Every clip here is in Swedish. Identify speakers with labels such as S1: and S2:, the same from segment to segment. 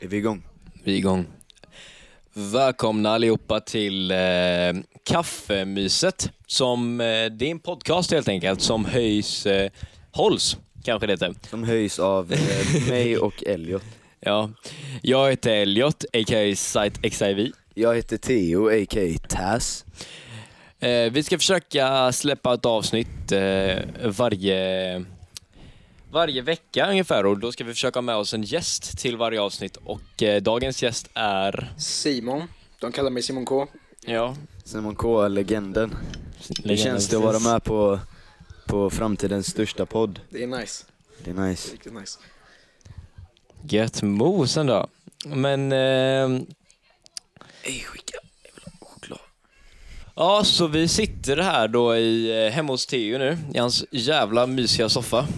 S1: Är vi igång?
S2: Vi är igång. Välkomna allihopa till eh, Kaffemyset. Som, eh, det är en podcast helt enkelt som höjs, eh, hålls kanske det heter.
S1: Som höjs av eh, mig och Elliot.
S2: Ja. Jag heter Elliot, a.k.a. Site XIV.
S1: Jag heter Theo, a.k.a. Taz.
S2: Eh, vi ska försöka släppa ett avsnitt eh, varje, varje vecka ungefär och då ska vi försöka ha med oss en gäst till varje avsnitt och eh, dagens gäst är...
S3: Simon. De kallar mig Simon K.
S2: Ja.
S1: Simon K, legenden. Hur känns det att vara med på, på framtidens största podd?
S3: Det är nice.
S1: Det är
S3: Det är
S1: nice.
S3: Riktigt nice.
S2: Gött mos ändå. Men... Eh,
S1: Ey, skicka. Jag vill ha choklad.
S2: ja, så vi sitter här då i, eh, hemma hos Theo nu, i hans jävla mysiga soffa.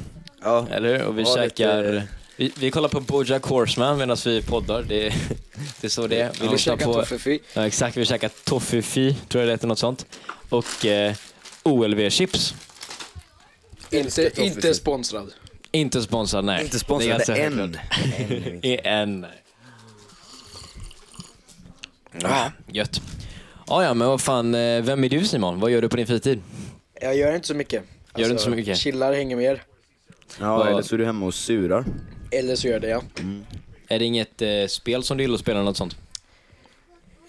S1: Ja,
S2: Eller hur? Och vi
S1: Ja, lite-
S2: käkar... Vi, vi kollar på Bojack Horseman medan vi poddar. Det, det är så det är. Vi
S3: Vill du
S2: lyssnar
S3: käka
S2: på...
S3: toffefi?
S2: Ja, exakt, vi käkar toffefi, tror jag det heter, något sånt. Och eh, OLV-chips.
S3: Inte,
S1: toffefi.
S3: inte sponsrad.
S2: Inte sponsrad, nej.
S1: inte
S2: Det är
S1: sponsrade
S2: ganska
S1: än. Än.
S2: självklart. I en. Ja, gött. Ja, ja, men vad fan, eh, vem är du Simon? Vad gör du på din fritid?
S3: Jag gör inte så mycket. Alltså,
S2: du inte så mycket?
S3: Chillar, hänger med er.
S1: Ja, eller så är du hemma och surar.
S3: Eller så gör det jag.
S2: Är det inget eh, spel som du gillar att spela eller något sånt?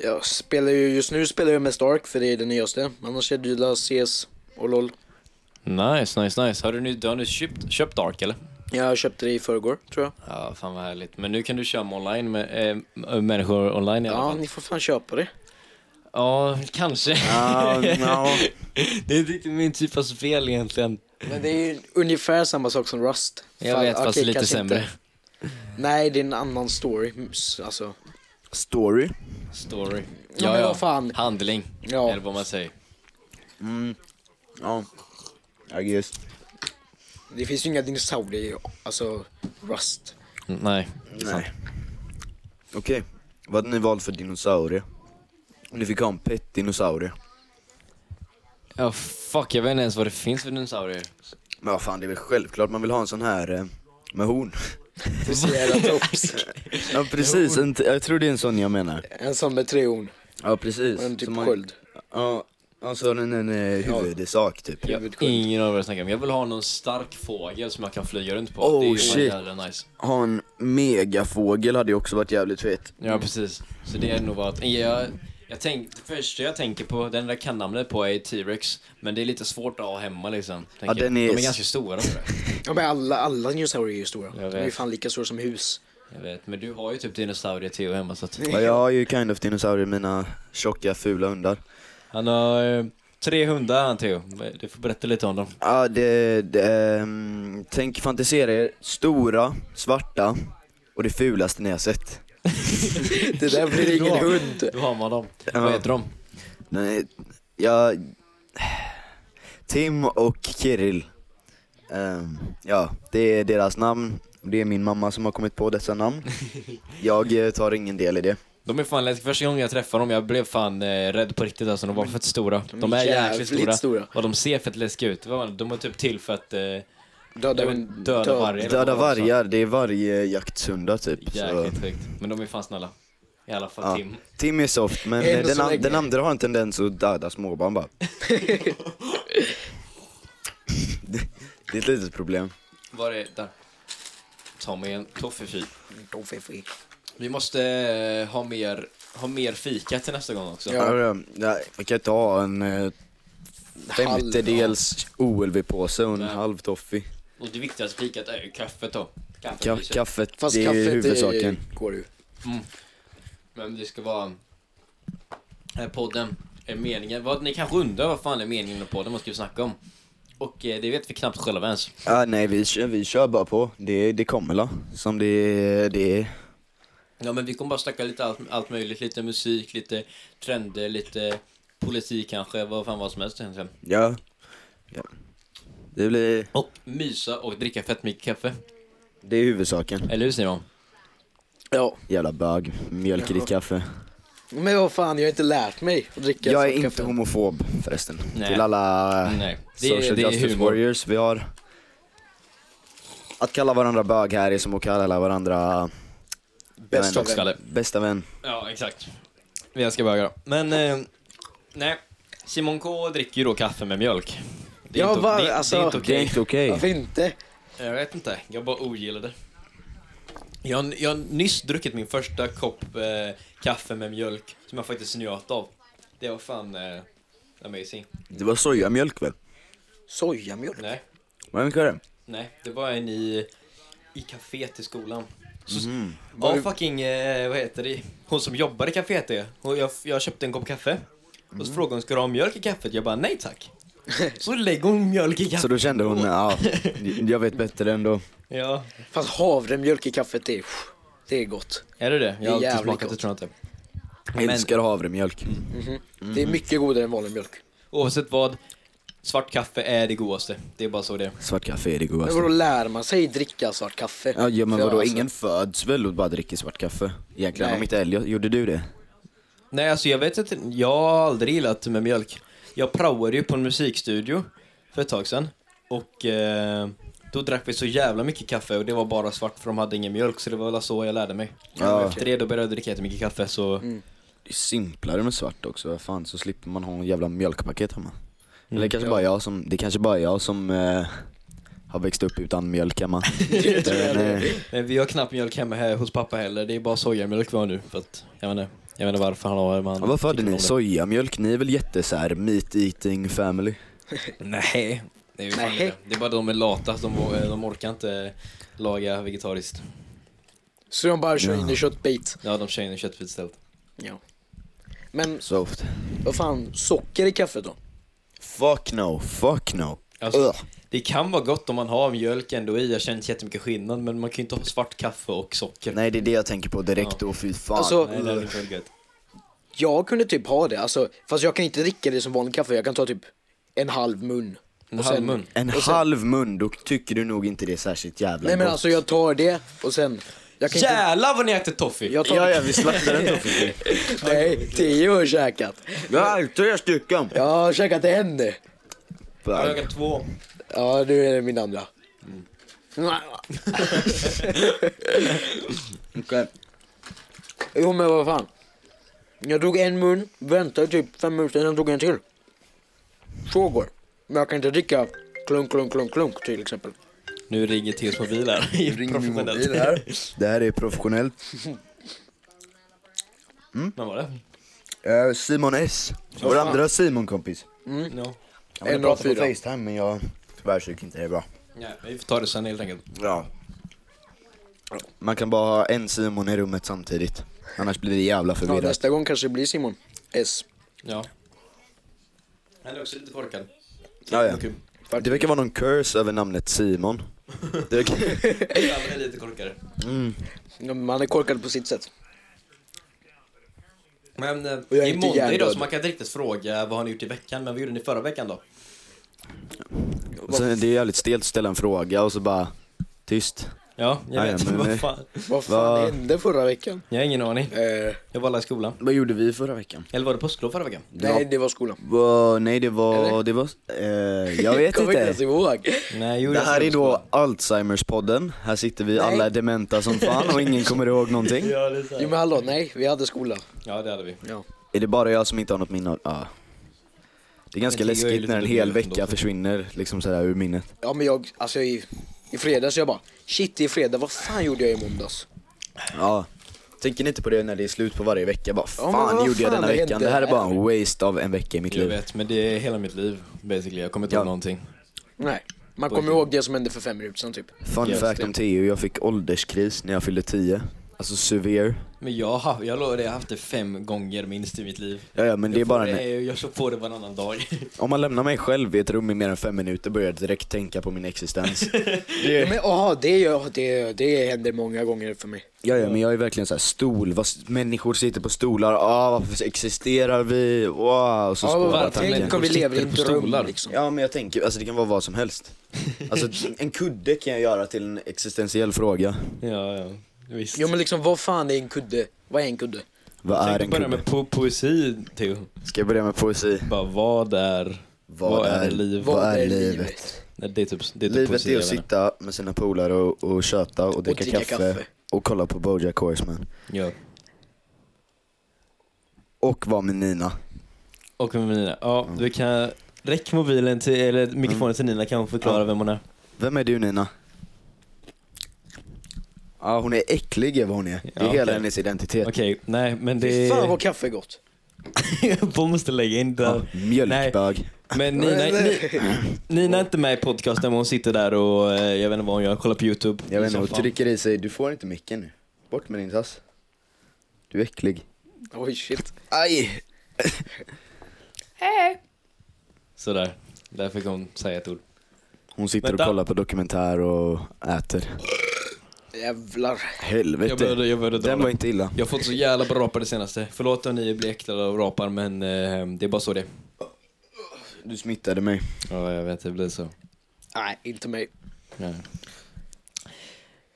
S3: Jag spelar ju, just nu spelar jag med Stark för det är det nyaste. Annars är det Dyla, CS och LOL.
S2: Nice, nice, nice. Har du nu, du har nu köpt, köpt Dark eller?
S3: Jag köpte det i förrgår, tror jag.
S2: Ja, fan vad härligt. Men nu kan du köra med online med äh, människor online i alla
S3: Ja,
S2: fall.
S3: ni får fan köpa det.
S2: Ja, kanske.
S1: Ja, ja.
S2: det är inte riktigt min typ av spel egentligen.
S3: Men det är ju ungefär samma sak som Rust.
S2: Jag
S3: Fan,
S2: vet, fast
S3: okej,
S2: lite
S3: kanske
S2: sämre.
S3: inte. Nej, det är en annan story. S- Alltså,
S1: Story.
S2: Story.
S3: Ja, men vad fan.
S2: Handling,
S3: Ja.
S2: eller vad man säger.
S1: Mm. Ja. I guess.
S3: det finns ju inga dinosaurier i alltså, Rust.
S2: Mm, Nej.
S1: Nej. Okej. Vad hade ni valt för dinosaurie? Om ni fick ha en pet dinosaurie.
S2: Ja, fuck, jag vet inte ens vad det finns för dinosaurier.
S1: Men vad fan, det är väl självklart man vill ha en sån här eh, med horn.
S3: Det är så jävla tops.
S1: Ja precis, en, t- jag tror det är en sån jag menar.
S3: En sån med tre horn.
S1: Ja precis.
S3: Och en typ
S1: Som man-
S3: sköld.
S1: Ja, och så har den en eh, huvudsak typ.
S2: Jag har
S3: Huvudsköld.
S2: ingen aning vad jag snackar om. Jag vill ha någon stark fågel som jag kan flyga runt på.
S1: Oh,
S2: det är ju
S1: shit.
S2: fan jävla nice.
S1: Ha en megafågel hade ju också varit jävligt fett.
S2: Ja, precis. Så det är nog vad att... Jag, jag tänk, det första jag tänker på, den där jag kan namnet på är T-Rex. Men det är lite svårt att ha hemma liksom. tänker
S1: den
S2: jag.
S1: är-
S2: De är ganska stora tror jag.
S3: Ja men alla, alla dinosaurier är ju stora. De
S2: vet.
S3: är ju fan lika stora som hus.
S2: Jag vet, men du har ju typ dinosaurier Theo hemma så att...
S1: Ja, jag har ju kind of dinosaurier, mina tjocka fula hundar.
S2: Han har eh, tre hundar han Theo. Du får berätta lite om dem.
S1: Ja, det, det ehm, tänk fantisera er, stora, svarta och det fulaste ni har sett.
S3: Det där blir ingen hund.
S2: Då har man dem.
S1: Ja.
S2: Vad heter de?
S1: Nej, jag... Tim och Kirill. Ehm, ja, det är deras namn. Det är min mamma som har kommit på dessa namn. Jag eh, tar ingen del i det.
S2: De är fan läskiga. Första gången jag träffade dem, jag blev fan eh, rädd på riktigt alltså. De var fett stora. De är jäkligt stora.
S3: jävligt stora.
S2: Och de ser fett läskiga ut. Vad var det? De är typ till för att... Eh,
S3: Döda,
S2: Jag vill döda
S3: död-
S2: varje- Eller
S1: Döda
S2: vad var det
S1: vargar, det är varje jakthundar typ. Så.
S2: jäkligt högt. Men de är fan snälla. I alla fall
S1: Ja.
S2: Tim.
S1: Tim är soft, men
S3: Än
S1: eh,
S3: så
S1: den, an-
S3: länge.
S1: den andra har en tendens att döda småbarn bara. det, det är ett litet problem.
S2: Var är... Där. Ta med en toffefil.
S3: Toffefi.
S2: Vi måste eh, ha mer... Ha mer fika till nästa gång också.
S3: Ja.
S1: Ja. nej, Man kan inte ha en eh, femtedels OLV-påse och en
S2: Nej.
S1: halv toffee.
S2: Och det viktigaste fikat är ju kaffet då. Kaffet
S1: Ka-
S2: blir så-
S1: kaffet,
S3: Fast
S1: det är
S3: kaffet
S1: huvudsaken.
S3: är, går ju.
S2: Men det ska vara... Eh, podden är meningen. Vad, ni kanske undrar vad fan är meningen med podden? Vad ska vi snacka om? Och eh, det vet vi knappt själva ens.
S1: Ah, nej, vi, kör- vi kör bara på. Det, det kommer la. Som det, det är.
S2: Ja men vi kommer bara snacka lite allt, allt möjligt. Lite musik, lite trender, lite politik kanske. Vad fan vad som helst egentligen.
S1: Ja. ja. Det, blir,
S2: Och mysa och dricka fett mycket kaffe.
S1: det är huvudsaken.
S2: Eller hur Simon?
S3: Ja.
S1: Jävla bög. Mjölk i ditt kaffe.
S3: Men vad fan, jag har inte lärt mig att dricka
S1: Jag är
S3: sånt
S1: inte
S3: kaffe.
S1: homofob förresten.
S2: Nej.
S1: Till alla
S2: Nej. Det, är-
S1: Ah, social
S2: det är
S1: justice
S2: humor.
S1: warriors vi har. Att kalla varandra bög här är som att kalla varandra
S3: Bästa
S1: vän.
S2: Skottskalle.
S1: Bästa vän.
S2: Ja, exakt. Vi ska bögar då. Men, eh, nej. Simon K dricker ju då kaffe med mjölk. Det är
S3: Ja,
S2: inte,
S3: va?
S2: det, det
S3: Alltså,
S2: är inte
S1: Det är
S2: okej.
S1: inte okej.
S3: Varför inte?
S2: Jag vet inte, jag bara ogillar det. Jag, har- jag har nyss druckit min första kopp eh, kaffe med mjölk som jag faktiskt njöt av. Det var fan eh, amazing.
S1: Det var sojamjölk väl?
S3: Sojamjölk?
S2: Nej,
S1: Vad mycket var det?
S2: nej, det var en i, i kaféet i skolan. Så,
S3: Mhm. Var
S2: Ja,
S3: det-
S2: fucking, eh, vad heter det? Hon som jobbar i kaféet det. Hon, jag, jag köpte en kopp kaffe. Och
S3: Mhm.
S2: så frågade hon, ska du ha mjölk i kaffet? Jag bara, nej tack. Så lägger hon mjölk i kaffet.
S1: Så då kände hon, ja, jag vet bättre ändå.
S2: Ja.
S3: Fast havremjölk i kaffet, det är, det är gott.
S2: Är det det?
S3: Det är
S2: Jag har alltid
S3: jävligt
S2: smakat det
S3: gott.
S2: tror jag inte.
S1: Jag älskar havremjölk.
S3: Det är
S1: Mm.
S3: mycket godare än vanlig mjölk.
S2: Oavsett vad, svart kaffe är det godaste. Det är bara så det är.
S1: Svart kaffe är det
S3: Men
S1: godaste.
S3: vadå, lär man sig dricka svart kaffe?
S1: Ja, ja men
S3: För
S1: vadå,
S3: alltså-
S1: ingen föds väl och bara dricker svart kaffe? Egentligen,
S3: Nej.
S1: om inte Elliot, gjorde du det?
S2: Nej, alltså jag vet inte. Jag har aldrig gillat med mjölk. Jag praoade ju på en musikstudio för ett tag sedan. Och eh, då drack vi så jävla mycket kaffe och det var bara svart för de hade ingen mjölk. Så det var väl så jag lärde mig.
S1: Ja.
S2: Efter det då började jag dricka jättemycket kaffe så...
S1: Det är simplare med svart också, vad fan, så slipper man ha en jävla mjölkpaket hemma. Eller det kanske bara jag som, det kanske bara jag som eh, har växt upp utan mjölk hemma. Men, eh,
S2: Men vi har knappt mjölk hemma här hos pappa heller. Det är bara sojamjölk vi har nu. För att, jag vet inte. Jag vet inte varför han har man
S1: Ja, Varför hade
S2: tycker om
S1: ni
S2: det.
S1: sojamjölk? Ni är väl jätte så här meat eating family?
S2: Nej. Det är, ju fan
S3: Nej.
S2: inte. det är bara de är lata. De, vå- de orkar inte laga vegetariskt.
S3: Så de bara kör in i köttbit.
S2: Ja, de kör in en köttbit istället.
S3: Ja. Men
S1: Soft.
S3: vad fan, socker i kaffet då?
S1: Fuck no, fuck no.
S2: Alltså,
S1: Ugh.
S2: Det kan vara gott om man har mjölk ändå i. Jag känner inte jättemycket skillnad, men man kan ju inte ha svart kaffe och socker.
S1: Nej det är det jag tänker på direkt och fy fan.
S3: Alltså-
S2: Nej, det är inte väldigt gött.
S3: Jag kunde typ ha det, alltså, fast jag kan inte dricka det som vanligt kaffe. Jag kan ta typ en halv mun.
S2: En
S3: Och sen-
S2: halv mun.
S1: en halv mun, då tycker du nog inte det är särskilt jävla
S3: Nej men
S1: gott.
S3: alltså jag tar det och sen... Jag kan inte...
S2: Jävlar vad ni äter toffee!
S3: Jag tar...
S1: Ja, ja vi slaktar den då. för fan.
S3: Nej, tio har jag käkat.
S1: Jag har tre stycken.
S3: Jag har käkat en.
S2: Jag har
S1: Fan.
S2: ökat två.
S3: Ja, nu är det min andra.
S1: Mm.
S3: Mm.
S1: Okej.
S3: Jo men vad fan. Jag tog en mun, väntade typ fem minuter, sen tog jag en till. Så går det. Men jag kan inte dricka klunk, klunk, klunk, klunk till exempel.
S2: Nu ringer Theos mobil här. Professionellt.
S1: Det här är professionellt.
S2: Vem var det?
S1: Eh, Simon S. Vår andra Simon-kompis.
S2: Ja.
S1: Han ville
S3: En av
S1: prata på
S3: fyra.
S1: Facetime men jag tyvärr tycker inte det är bra.
S2: Nej, vi får ta det sen helt enkelt.
S1: Ja. Man kan bara ha en Simon i rummet samtidigt. Annars blir det jävla
S3: Ja,
S1: förvirrat.
S3: nästa gång kanske det blir Simon S.
S2: Ja. Han är också lite korkad.
S1: Ja, ja.
S2: Kul.
S1: Det verkar vara någon curse över namnet Simon. Det verkar...
S2: Alla är lite korkade.
S3: Man är korkad på sitt sätt.
S2: Men eh,
S3: jag är
S2: i
S3: inte
S2: måndag idag
S3: hjärndöd.
S2: så man kan inte riktigt fråga vad har ni gjort i veckan, men vad gjorde ni förra veckan då?
S1: Och sen, det är jävligt stelt att ställa en fråga och så bara tyst.
S2: Ja, jag
S1: Nej,
S2: vet.
S1: men-
S2: Vad fan.
S3: Vad fan
S1: Va?
S3: hände förra veckan?
S2: Jag har ingen aning.
S3: Eh,
S2: Jag var alla i skolan.
S1: Vad gjorde vi förra veckan?
S2: Eller var det påsklov förra veckan?
S3: nej, det var skolan.
S1: nej det var,
S3: Eller?
S1: det var, eh, jag vet
S3: Kommer inte ens
S1: inte.
S3: ihåg.
S2: Nej, jo,
S1: Det
S2: jag
S1: här
S2: ska
S1: är
S2: på skolan.
S1: då Alzheimers-podden, här sitter vi
S3: Nej.
S1: alla är dementa som fan och ingen kommer ihåg någonting.
S2: Ja, det är så
S3: Jo
S2: här.
S3: men hallå, nej, vi hade skola.
S2: ja, det hade vi.
S3: Ja.
S1: Är det bara jag som inte har något minne av, ja. Det är ganska
S2: Men det är ju
S1: läskigt när en
S2: lite
S1: hel
S2: dubbelt ändå.
S1: vecka försvinner liksom sådär ur minnet.
S3: ja men jag, alltså i, i fredags jag bara, shit i fredag, vad fan gjorde jag i måndags?
S1: Ja. Tänker ni inte på det när det är slut på varje vecka? Bara,
S3: Ja, men
S1: fan
S3: vad
S1: gjorde jag
S3: fan
S1: denna
S3: det
S1: veckan?
S3: hände
S1: Det här är bara
S3: här?
S1: en waste av en vecka i mitt
S2: Jag
S1: liv.
S2: vet, men det är hela mitt liv basically. Jag kommer inte ihåg
S1: Ja.
S2: någonting.
S3: Nej, man kommer ihåg det som hände för fem minuter sedan typ.
S1: Fun
S2: Just
S1: fact
S2: det.
S1: om Theo, jag fick ålderskris när jag fyllde 10. Alltså severe.
S2: Men jag har jag lovar dig, jag har haft det fem gånger minst i mitt liv.
S1: Ja, ja men det är
S2: jag
S1: bara
S2: får
S1: en...
S2: det, Jag så får det varannan dag.
S1: Om man lämnar mig själv i ett rum i mer än fem minuter börjar jag direkt tänka på min existens.
S3: Ja, men aha, det, gör- det, det händer många gånger för mig.
S1: ja, ja men jag är verkligen så här stol, vad, s- människor sitter på stolar, ah varför existerar vi? Wow, och så
S3: Ja,
S1: spårar
S3: vad-
S1: tanken.
S3: tänk om vi
S2: Sitter
S3: lever i en
S2: på
S3: dröm
S2: stolar.
S3: liksom.
S1: Ja men jag tänker, alltså det kan vara vad som helst. Alltså en kudde kan jag göra till en existentiell fråga.
S2: ja, ja. Visst.
S3: Jo men liksom vad fan är en kudde? Vad är en kudde?
S1: Vad är en
S2: Tänk börja
S1: kudde?
S2: med po poesi, Theo.
S1: Ska jag börja med poesi?
S2: Bara, vad är,
S1: Vad är-
S2: liv?
S1: Vad är livet?
S2: Nej, Det är typ, det är typ
S1: Livet
S2: poesi,
S1: är
S2: jag
S1: att
S2: vet inte.
S1: sitta med sina polare och, och köta och dricka
S3: dricka
S1: kaffe,
S3: kaffe.
S1: och kolla på Bojack Horseman.
S2: Ja.
S1: Och vara med Nina.
S2: Och med Nina. Ja,
S1: Mm.
S2: du kan... Räck mobilen till, eller mikrofonen till Nina kan hon förklara
S1: Ja.
S2: vem hon är.
S1: Vem är du Nina? Ja hon är äcklig är vad hon är. Det är
S2: Ja,
S1: hela
S2: okej.
S1: hennes identitet.
S2: Okej, nej men det...
S3: Fy fan vad kaffe är gott.
S2: Paul måste lägga in det
S1: Ja,
S2: här.
S1: mjölkbög.
S2: Men Nina,
S3: Nej, nej.
S2: Ni- Nina är inte med i podcasten men hon sitter där och eh, jag vet inte vad hon gör, kollar på YouTube.
S1: Jag
S2: i
S1: vet inte, hon
S2: soffan.
S1: trycker i sig. Du får inte micken nu. Bort med din tass. Du är äcklig.
S3: Oj shit.
S1: Aj!
S2: Sådär, där fick hon säga ett ord.
S1: Hon sitter
S2: Vänta.
S1: och kollar på dokumentär och äter.
S3: Jävlar.
S1: Helvete.
S2: Jag började, jag började dra
S1: Den
S2: det.
S1: var inte illa.
S2: Jag har fått så jävla bra rapar det senaste. Förlåt om ni blir äcklade av rapar men eh, det är bara så det är.
S1: Du smittade mig.
S2: Ja, jag vet, det blir så.
S3: Nej, inte mig.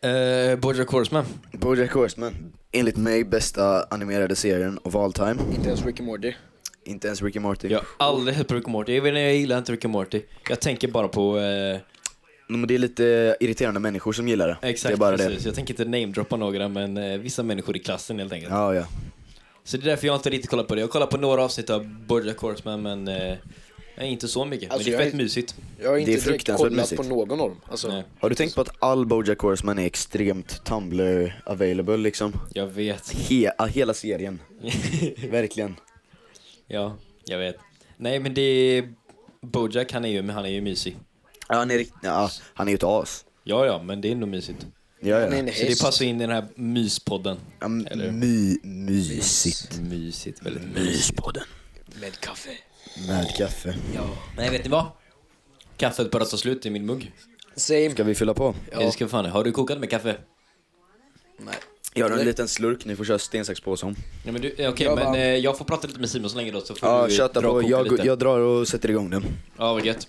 S2: Eh, Bojack Horseman.
S1: Bojack Horseman. Enligt mig bästa animerade serien of all time.
S3: Inte ens Rick and Morty.
S1: Inte ens Ricky Morty.
S2: Jag har aldrig sett på Rick and Morty. Jag, vet, inte, jag gillar inte Rick and Morty. Jag tänker bara på... Eh,
S1: Men det är lite irriterande människor som gillar det.
S2: exakt,
S1: det är bara
S2: precis.
S1: det.
S2: Jag tänker inte namedroppa några men eh, vissa människor i klassen helt enkelt.
S1: Ja, ja.
S2: Så det är därför jag inte riktigt kollar på det. Jag kollar på några avsnitt av Bojack Horseman men eh, nej, inte så mycket.
S3: Alltså,
S2: men det är
S3: jag
S2: fett
S3: är-
S2: mysigt.
S3: Jag har
S1: Det är
S3: inte direkt
S1: fruktansvärt
S3: kollat
S1: mysigt.
S3: på någon av dem. Alltså,
S2: Nej,
S1: Har du tänkt på att all Bojack Horseman är extremt Tumblr available liksom?
S2: jag vet.
S1: He- ah, hela serien. Verkligen.
S2: ja, jag vet. Nej men det är... Bojack han är ju, men han är ju mysig.
S1: Ja, han är rikt- ja, han är ju ett as.
S2: Ja, ja, men det är ändå mysigt.
S1: Ja,
S3: Han är en
S1: ja.
S2: Så det
S3: häst.
S2: passar in i den här myspodden.
S1: ja m-
S2: Eller-
S1: my- mysigt.
S2: Mysigt, väldigt mysigt.
S1: Myspodden.
S3: Med kaffe.
S1: Med kaffe.
S2: Nej, vet ni vad? Kaffet börjar ta slut i min mugg.
S3: Same.
S1: Ska vi fylla på?
S3: Ja.
S2: Eller ska fan, har du kokat med kaffe?
S3: Nej.
S1: Jag har en liten slurk, ni får köra sten, sax, påse om.
S2: Nej men du, eh, okej
S3: Jag
S2: men
S3: vann.
S2: eh, jag får prata lite med Simon så länge då så får
S1: Ja,
S2: du
S1: köta
S2: dra och
S1: på.
S2: koka
S1: Jag,
S2: lite.
S1: jag drar och sätter igång den.
S2: Ja vad gött.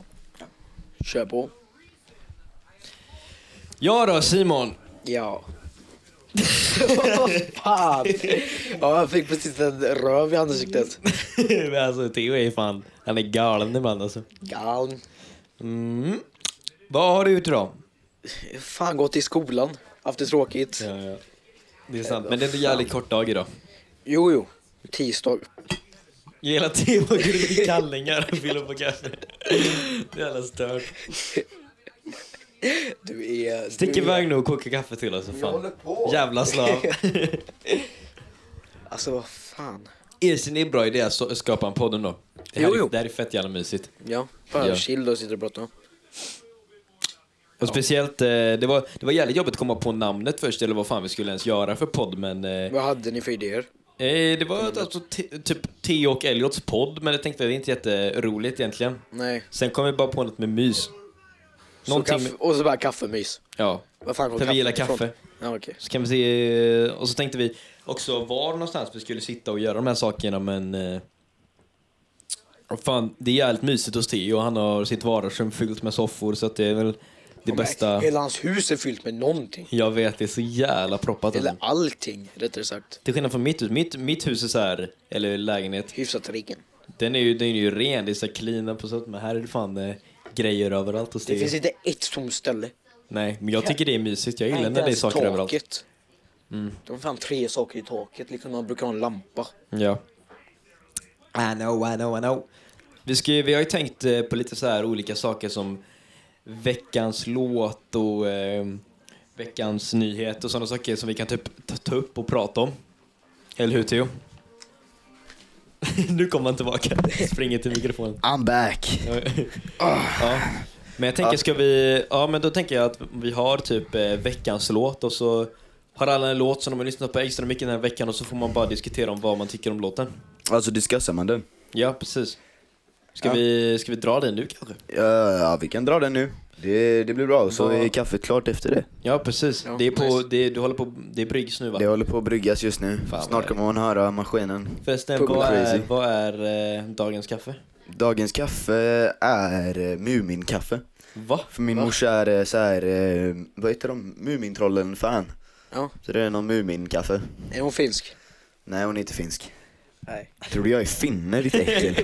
S3: Kör på.
S2: Ja då Simon.
S3: Ja. Vad fan. Ja, jag fick precis en röv i ansiktet.
S2: Men alltså Theo är fan, han är galen ibland alltså.
S3: Galn.
S2: Mm. Vad har du gjort idag?
S3: Fan gått i skolan. Haft det tråkigt.
S2: Det är sant, men det är en jävligt kort dag idag.
S3: Jo, jo. Tisdag.
S2: Jag gillar Theo går ut i kallingar och fyller på kaffe. Det är jävla stört.
S3: Du är...
S2: Stick
S3: du är-
S2: iväg nu och koka kaffe till alltså fan.
S1: på.
S2: Jävla slav.
S3: Alltså vad fan.
S2: Erkänn det är en bra idé att so- skapa en podd ändå. Det här,
S3: Jo,
S2: är-
S3: jo.
S2: det här är fett jävla mysigt.
S3: Ja, fan
S2: Ja.
S3: chill och sitter och pratar.
S2: Och speciellt, eh, det var, det var jävligt jobbigt att komma på namnet först eller vad fan vi skulle ens göra för podd men... eh,
S3: Vad hade ni för idéer?
S2: Eh, det var alltså te- typ Theo och Elliots podd men jag tänkte det är inte jätteroligt egentligen.
S3: Nej.
S2: Sen kom vi bara på något med mys.
S3: Så
S2: Någonting
S3: kaffe,
S2: med,
S3: och så bara kaffemys.
S2: Ja,
S3: Vad fan går
S2: för vi gillar
S3: ifrån?
S2: kaffe.
S3: Ja, okej.
S2: Så kan vi se, eh, och så tänkte vi också var någonstans vi skulle sitta och göra de här sakerna men... eh, och fan, det är jävligt mysigt hos Theo. Han har sitt vardagsrum fyllt med soffor så att det är väl det
S3: Ja, men
S2: bästa.
S3: Hela hans hus är fyllt med någonting.
S2: Jag vet, det är så jävla proppat.
S3: Eller
S2: alltså.
S3: allting, rättare sagt.
S2: Till skillnad från mitt hus. Mitt, mitt hus är så här, eller lägenhet,
S3: Hyfsat ren.
S2: Den är ju, den är ju ren, det är så här clean på sätt, men här är det fan eh, grejer överallt hos
S3: Det
S2: dig.
S3: finns inte ett tomt ställe.
S2: Nej, men jag tycker det är mysigt. Jag
S3: Nej,
S2: gillar
S3: inte
S2: när det är
S3: ens
S2: saker
S3: taket.
S2: överallt. Mm.
S3: De har fan tre saker i taket, liksom man brukar ha en lampa.
S2: Ja. I know, I know, I know. Vi, ska, ju- vi har ju tänkt eh, på lite så här olika saker som veckans låt och eh, veckans nyhet och sådana saker som vi kan typ ta, ta upp och prata om. Eller hur Theo? nu kommer han tillbaka. Springer till mikrofonen.
S1: I'm back.
S2: Ja. Ah. Men jag tänker, ska vi... Ja, men då tänker jag att vi har typ eh, veckans låt och så har alla en låt som de har lyssnat på extra mycket den här veckan och så får man bara diskutera om vad man tycker om låten.
S1: Alltså discussar man den?
S2: Ja, precis. Ska,
S1: Ja.
S2: vi, ska vi dra den nu kanske?
S1: Ja, ja, vi kan dra den nu. Det, det blir bra, så
S3: Vad-
S1: är kaffet klart efter det.
S2: Ja, precis.
S3: Ja,
S2: det är på...
S3: nice.
S2: Det, du håller på... Det är bryggs nu va?
S1: Det håller på att bryggas just nu.
S2: vad
S1: Snart
S2: är-
S1: kommer man höra maskinen.
S2: Förresten,
S1: Pub
S2: vad är,
S1: crazy.
S2: vad är eh, dagens kaffe?
S1: Dagens kaffe är eh, Muminkaffe.
S2: Va?
S1: För min morsa är eh, så här, eh, vad heter de, Mumintrollen-fan.
S3: Ja.
S1: Så det är någon Muminkaffe.
S3: Är hon finsk?
S1: Nej, hon är inte finsk.
S3: Nej.
S1: Tror du jag är finne ditt äckel?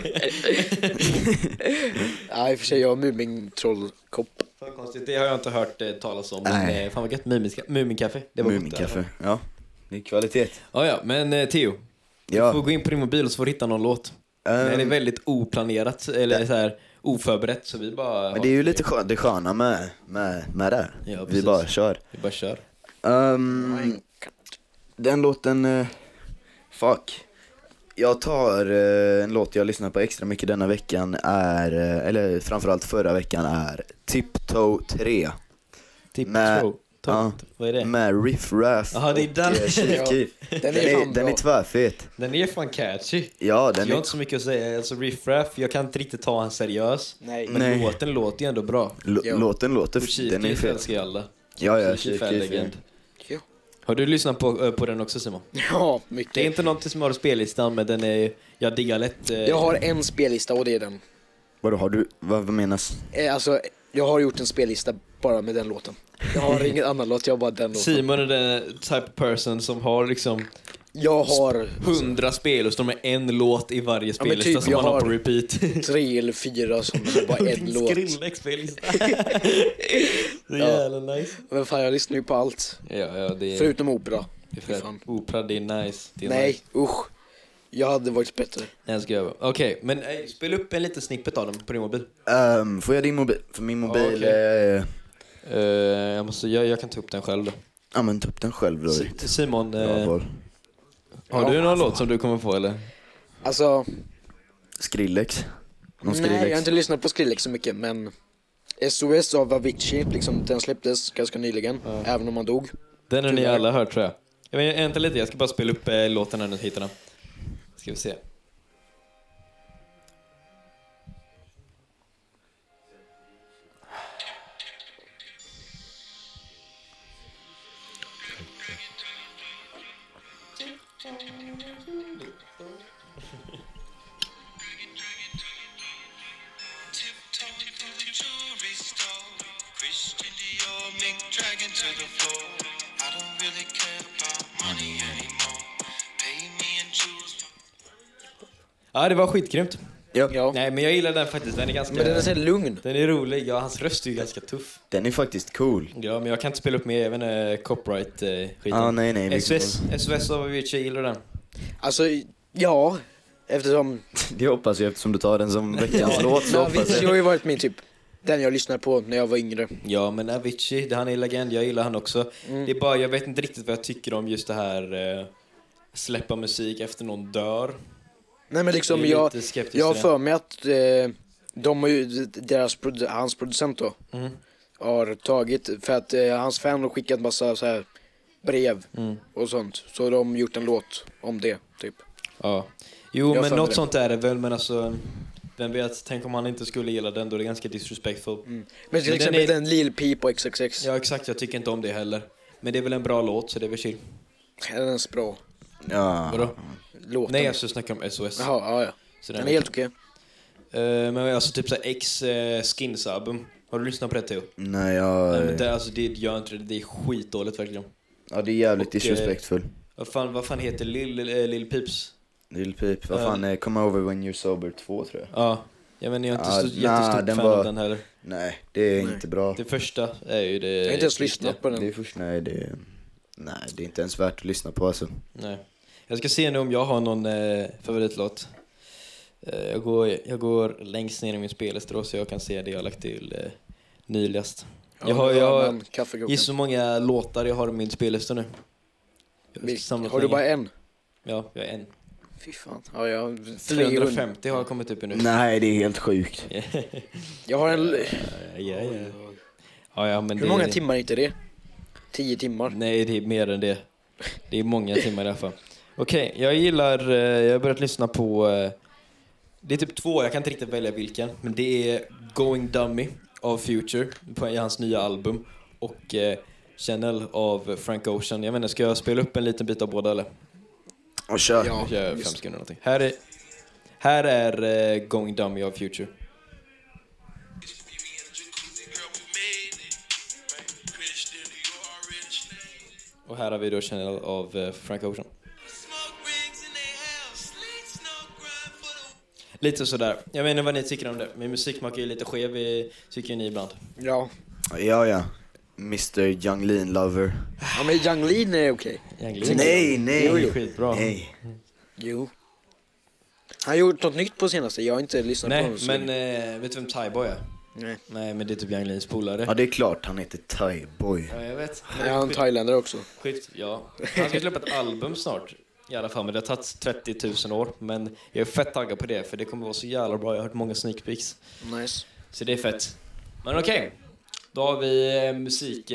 S3: Nej, i och för sig, jag har Mumintrollkopp.
S2: Fan konstigt, det har jag inte hört eh, talas om. Men,
S1: Nej.
S2: eh, fan vad gött, Muminska- Muminkaffe. Det var gott.
S1: Muminkaffe, ja. alltså. Det är kvalitet.
S2: Ja, ja, men eh, Theo. Du får
S1: Ja, Ehm.
S2: gå in på din mobil och så får du hitta någon låt. Nej, det är väldigt oplanerat, eller så här oförberett, så vi bara...
S1: men det är ju lite skönt, det sköna med, med, med det.
S2: Ja,
S1: Vi
S2: precis.
S1: bara kör.
S2: Vi bara kör.
S3: Mm.
S1: Ehm, den låten, eh, fuck. Jag tar eh, en låt jag lyssnar på extra mycket denna veckan är, eh, eller framförallt förra veckan är Tiptoe 3 Med-
S2: Tiptoe.
S1: ja.
S2: Typ Vad är det?
S1: med Riff Raff
S2: Jaha, det är den.
S1: och, eh, Chief Keef.
S3: Den är fan
S1: Den är
S3: bra.
S1: tvärfet.
S2: Den är fan catchy.
S1: Ja, den
S2: jag har
S1: är,
S2: inte så mycket att säga. Alltså Riff Raff, jag kan inte riktigt ta han seriös.
S3: Nej.
S2: Men
S1: Nej.
S2: låten låter ju ändå bra.
S1: lå-
S3: Ja.
S1: låten
S2: Och
S1: låter,
S2: Chief
S1: den är
S2: Keef
S1: fet.
S2: älskar ju alla.
S1: Ja, ja,
S2: Chief Keef är en legend.
S3: Ja.
S2: Har du lyssnat på, eh, på den också Simon?
S3: Ja, mycket.
S2: Det är inte någonting som har i spellistan, men den är... Jag diggar lätt. eh,
S3: Jag har en spellista och det är den.
S1: Vadå, har du, vad, vad menas?
S3: Eh, Alltså, jag har gjort en spellista bara med den låten. Jag har ingen annan låt, jag har bara den låten.
S2: Simon är den type of person som har liksom
S3: Jag har
S2: hundra spel och står med en låt i varje
S3: men
S2: spellista
S3: typ,
S2: som
S3: jag
S2: han har
S3: har-
S2: på repeat.
S3: tre eller fyra som är bara en låt.
S2: Skrillex-spellista. Det är
S3: Ja.
S2: jävla nice.
S3: Men fan, jag lyssnar ju på allt.
S2: Ja, ja, det är...
S3: Förutom opera.
S2: det är
S3: Fy
S2: för
S3: fan.
S2: att opera, det är nice. Det är nice.
S3: Nej, usch. Jag hade varit bättre.
S2: Nej, jag ska över. Okej, men eh, spela upp en liten snippet av den på din mobil.
S1: Ehm, får jag din mobil? För min mobil,
S2: okej.
S1: eh,
S2: jag, måste, jag, jag kan ta upp den själv då.
S1: ja men ta upp den själv då.
S2: Si- Simon, eh,
S1: Bra val.
S2: har du någon låt som du kommer på eller?
S3: Alltså,
S1: Skrillex? Någon
S3: nej, jag har
S1: Skrillex?
S3: inte lyssnat på Skrillex så mycket, men SOS av Avicii, liksom, den släpptes ganska nyligen, även om han dog.
S2: Den har ni
S3: Tyvärr.
S2: alla hört tror jag. jag vet, vänta lite, jag ska bara spela upp eh, låten när ni hittar den. Ska vi se.
S4: Christian Dior, Nick Dragon to the floor. I don't really care about money anymore. Pay me in jewels.
S2: Ja, det var skitgrymt.
S3: Ja.
S2: Nej, men jag gillar den faktiskt. Den är ganska...
S3: Men den är så här lugn.
S2: Den är rolig. Ja, hans röst är ju ganska tuff.
S1: Den är faktiskt cool.
S2: Ja, men jag kan inte spela upp med även eh, copyright-skiten.
S1: Ah, nej, nej, vi-
S2: SOS, SOS av Avicii, gillar den.
S3: Alltså, ja. Eftersom
S1: Det hoppas jag eftersom du tar den som veckans låt så
S3: Ja,
S1: hoppas
S3: Avicii
S1: jag.
S3: har ju varit min typ, den jag lyssnade på när jag var yngre.
S2: Ja, men Avicii, det, han är legend. Jag gillar han också.
S3: Mm.
S2: Det är bara, jag vet inte riktigt vad jag tycker om just det här eh, släppa musik efter någon dör.
S3: Nej men liksom
S2: Jag är
S3: jag,
S2: lite skeptisk
S3: jag har
S2: till
S3: för mig att eh, de har ju, deras, produ- hans producent då,
S2: Mm.
S3: har tagit, för att eh, hans fan har skickat massa så här brev
S2: Mm.
S3: och sånt. Så de har gjort en låt om det, typ.
S2: Ja. Jo,
S3: Jag
S2: men
S3: sa
S2: något
S3: det.
S2: sånt är det väl, men alltså... Vem vet, tänk om han inte skulle gilla den, då är det ganska disrespectful.
S3: Mm. Men till
S2: den
S3: exempel
S2: är-
S3: den Lil Peep och XXX,
S2: Ja, exakt. Jag tycker inte om det heller. Men det är väl en bra låt, så det är väl chill.
S3: den är ens bra.
S1: Ja.
S2: Vadå?
S3: Låten.
S2: Nej, alltså jag snackar om SOS.
S3: Jaha, ja, ja.
S2: Så
S3: Den är helt okej.
S2: Eh, men alltså typ såhär X eh, Skins album. Har du lyssnat på det Theo?
S1: Nej
S2: Nej, men
S1: jag...
S2: det, alltså det gör inte det. Det är skitdåligt verkligen.
S1: Ja det är jävligt
S2: Och, eh,
S1: disrespectful.
S2: Vad fan, vad fan heter Lil, eh, Lil Peeps?
S1: Lil Peep, vad fan, eh, Come Over When You're Sober 2 tror jag.
S2: Ja. Jag menar jag är inte
S1: Ah,
S2: så
S1: nah,
S2: jättestort
S1: den
S2: fan
S1: var-
S2: av den heller.
S1: Nej, det är inte bra.
S2: Det första är ju det...
S3: Jag har inte ens lyssnat på
S1: Det
S3: den.
S1: är först, nej det... Nej, det är inte ens värt att lyssna på alltså.
S2: Nej. Jag ska se nu om jag har någon eh, favoritlåt. Eh, jag, går, jag går längst ner i min spellista då, så jag kan se det jag har lagt till eh, nyligast. jag har, jag har,
S3: men kaffekoppen.
S2: gissa hur många låtar jag har i min spellista nu. Jag
S3: Vilk-
S2: samlat
S3: Har du
S2: länge.
S3: bara en?
S2: Ja, jag är en.
S3: Fy fan. Ja, jag har 300.
S2: 350 har jag kommit upp i nu.
S1: Nej, det är helt sjukt.
S3: Jag har en...
S2: Ja, ja. Ja, ja, men
S3: Hur
S2: det,
S3: många timmar är inte det? 10 timmar.
S2: Nej, det är mer än det. Det är många timmar i alla fall. Okej, jag gillar... eh, Jag har börjat lyssna på... eh, Det är typ två, jag kan inte riktigt välja vilken. Men det är Going Dummy av Future på i hans nya album. Och eh, Channel av Frank Ocean. Jag menar, ska jag spela upp en liten bit av båda eller?
S1: Och kör.
S3: Ja,
S2: Jag kör fem
S3: visst.
S2: sekunder eller någonting. Här är, här är eh, Going Dummy av Future.
S4: We be in the jacuzzi, girl, we made it. Christian Dior, rich lady.
S2: Och här har vi då Channel av eh, Frank Ocean.
S4: Smoke rings in they house, sleeps
S2: Lite sådär. Jag vet inte vad ni tycker om det, men musiksmak är ju lite skev, i- tycker ju ni ibland.
S3: Ja.
S1: Ja, ja. Mr Young Lean Lover.
S3: ja men Yung Lean är okej.
S2: Egentligen.
S1: Nej, nej.
S2: Jo, jo. Skitbra.
S1: Nej.
S3: Jo. Han har gjort något nytt på senaste, jag har inte lyssnat på
S2: Nej,
S3: honom. så-
S2: men eh, vet du vem Thaiboy är?
S3: Nej.
S2: Nej, men det är typ Yang Lins polare.
S1: Ja, det är klart han heter Thai Boy.
S2: Ja, jag vet. Men
S3: Jag
S2: det
S3: är
S2: är
S3: en
S2: skit-
S3: thailändare också.
S2: skit, ja. Han ska släppa ett album snart. I alla fall, men det har tagit 30 000 år. Men jag är fett taggad på det, för det kommer vara så jävla bra. Jag har hört många sneak peeks.
S3: Nice.
S2: Så det är fett. Men okej. Då har vi eh,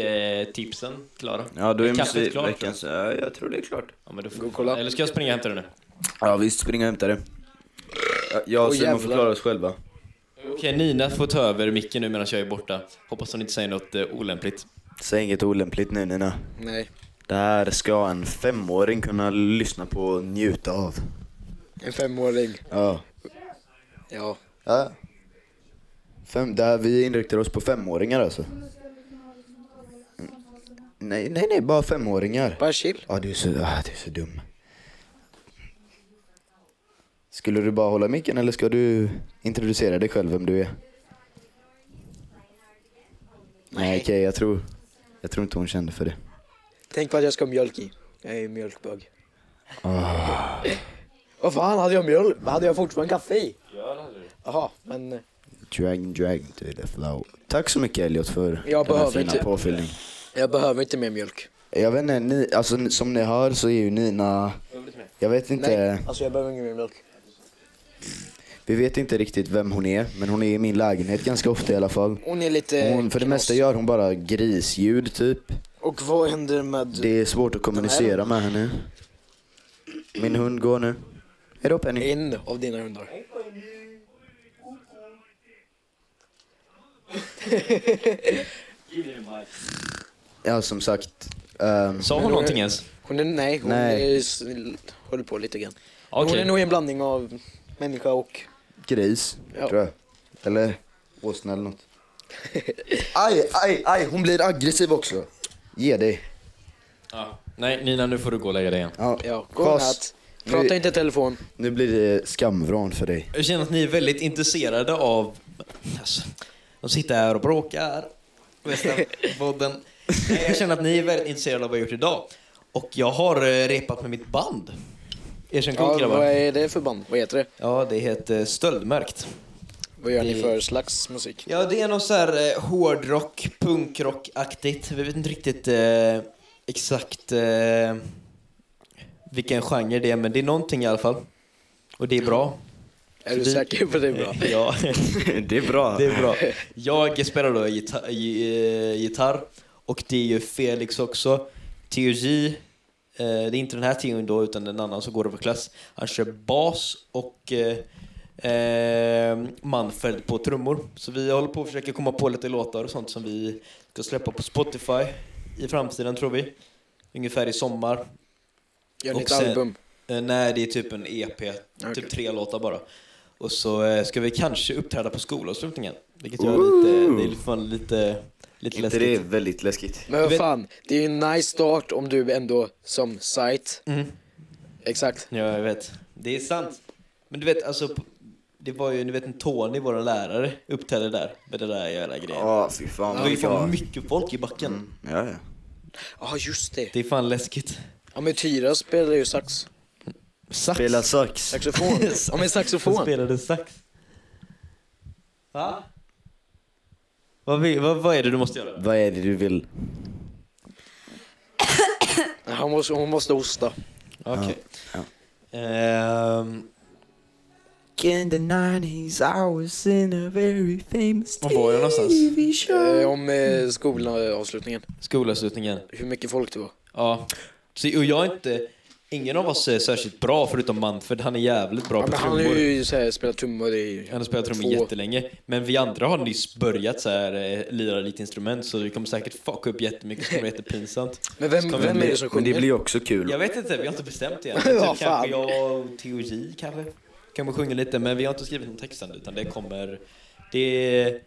S2: musiktipsen klara.
S1: Ja, då är
S2: kaffet klart,
S1: musikveckans... Ja, jag tror det är klart.
S2: Ja, men då
S3: Gå
S2: får...
S3: och kolla.
S2: Eller ska jag springa och hämta det nu?
S1: Ja, visst. Spring och hämta det. Ja, Jag och
S3: Åh,
S1: Simon får
S3: jävlar.
S1: klara oss själva.
S2: Okej, Nina får ta över micken nu medan jag är borta. Hoppas hon inte säger något eh, olämpligt.
S1: Säg inget olämpligt nu, Nina.
S3: Nej.
S1: Det här ska en femåring kunna lyssna på och njuta av.
S3: En femåring.
S1: Ja.
S3: Ja.
S1: ja. Fem, det här, vi inriktar oss på femåringar alltså. Mm. Nej, nej, nej, bara femåringar.
S3: Bara chill.
S1: Ja, du är så, ah, du är så dum. Skulle du bara hålla micken eller ska du introducera dig själv, vem du är? Nej, okej, jag tror... Jag tror inte hon kände för det.
S3: Tänk på att jag ska ha mjölk i. Jag är ju mjölkbög.
S1: Ah.
S3: Vad fan, hade jag mjölk? Hade jag fortfarande kaffe i? Ja, det hade du. Jaha, men eh,
S1: Drag, drag to the flow. Tack så mycket Elliot för
S3: Jag
S1: den här
S3: behöver
S1: fina
S3: inte-
S1: påfyllningen.
S3: jag behöver inte mer mjölk.
S1: Jag vet inte, ni, alltså, ni- som ni hör så är ju Nina... Jag vet inte,
S3: Nej, alltså jag behöver ingen mer mjölk.
S1: vi vet inte riktigt vem hon är, men hon är i min lägenhet ganska ofta i alla fall.
S3: Hon är lite
S1: Hon, för det
S3: knas.
S1: mesta gör hon bara grisljud typ.
S3: Och vad händer med...
S1: Det är svårt att kommunicera med henne. Min hund går nu. Hejdå Penny.
S3: En av dina hundar.
S1: Ja som sagt, ehm,
S2: Sa hon någonting ens?
S3: Hon är, nej, hon
S1: Nej.
S3: är s- håller på lite grann. Hon
S2: Okej.
S3: är nog en blandning av människa och...
S1: gris,
S3: Ja.
S1: tror jag. Eller åsna eller något. Aj, aj, aj, hon blir aggressiv också. Ge dig.
S2: Ja. Nej, Nina, nu får du gå och lägga dig igen.
S1: Ja,
S3: Ja,
S1: Kas,
S3: godnatt. Prata
S1: nu-
S3: inte i telefon.
S1: Nu blir det skamvrån för dig.
S2: Jag känner att ni är väldigt intresserade av... Alltså, de sitter här och bråkar. Västernpodden. Nej, Jag känner att ni är väldigt intresserade av vad jag har gjort idag. Och jag har eh, repat med mitt band. Erkänn
S3: Ja,
S2: cool,
S3: vad
S2: grabbar.
S3: är det för band? Vad heter det?
S2: Ja, det heter Stöldmärkt.
S3: Vad gör
S2: Det-
S3: ni för slags musik?
S2: Ja, det är någon så här eh, hårdrock, punkrock-aktigt. Vi vet inte riktigt eh, exakt eh, vilken genre det är, men det är någonting i alla fall. Och det är bra.
S3: Är du
S2: det-
S3: säker på det är bra?
S2: Ja,
S1: det är bra.
S2: det är bra. Jag spelar då gitarr, gitarr och det är ju Felix också. TUJ, eh, det är inte den här TUJn då, utan en annan som går överklass. Han kör bas och eh, eh, Manfred på trummor. Så vi håller på att försöka komma på lite låtar och sånt som vi ska släppa på Spotify i framtiden tror vi. Ungefär i sommar.
S3: Gör
S2: Och
S3: ni ett
S2: sen-
S3: album? Ah,
S2: Eh, nej, det är typ en EP. Typ tre låtar bara. Och så eh, ska vi kanske uppträda på skolavslutningen. Vilket gör lite, det är fan lite, lite
S1: Inte det är
S2: läskigt.
S1: väldigt läskigt.
S3: Men vad
S2: vet-
S3: fan, det är ju en nice start om du ändå som site.
S2: Mm.
S3: Exakt.
S2: Ja, jag vet. Det är sant. Men du vet, alltså. p- Det var ju, ni vet en Tony, vår lärare, uppträdde där med det där jävla grejen.
S1: Ja, Mm. fy fan
S2: det var ju
S1: vad
S2: fan
S1: bra.
S2: mycket folk i backen.
S1: Ja, ja.
S3: Ja, just det.
S2: Det är fan läskigt.
S3: Ja, men Tyra spelar ju sax.
S2: Sax.
S1: Spela sax.
S3: Saxofon. Ja, men
S2: Som
S3: saxofon.
S2: spelade sax. Va? Vad, vill, vad, vad är det du måste göra?
S1: Vad är det du vill?
S3: Han måste, hon måste hosta.
S2: Okej.
S1: Ja,
S2: Ehm,
S1: In the 90s I was in a very famous
S2: Var var jag någonstans?
S3: Eh, om eh, skolavslutningen.
S2: Skolavslutningen.
S3: Hur mycket folk det var.
S2: Ja. Så, och jag är inte... Ingen av oss är särskilt bra förutom Manfred. Han är jävligt bra
S3: Ja,
S2: på
S3: men han
S2: trummor.
S3: har ju så här, spelat trummor i...
S2: Han har spelat trummor
S3: två-
S2: jättelänge. Men vi andra har nyss börjat så här, eh, lira lite instrument så vi kommer säkert fucka upp jättemycket. Det kommer vara jättepinsamt.
S3: Men
S2: Så
S3: vem,
S2: kommer
S3: vem
S2: det
S3: är
S2: bli-
S3: det som
S1: Men
S3: sjunger?
S1: det blir ju också kul.
S2: Jag vet inte, vi har inte bestämt än. Typ
S3: Ja,
S2: kanske
S3: fan.
S2: jag och TOJ kanske. Kanske sjunger lite, men vi har inte skrivit någon text än utan det kommer... Det är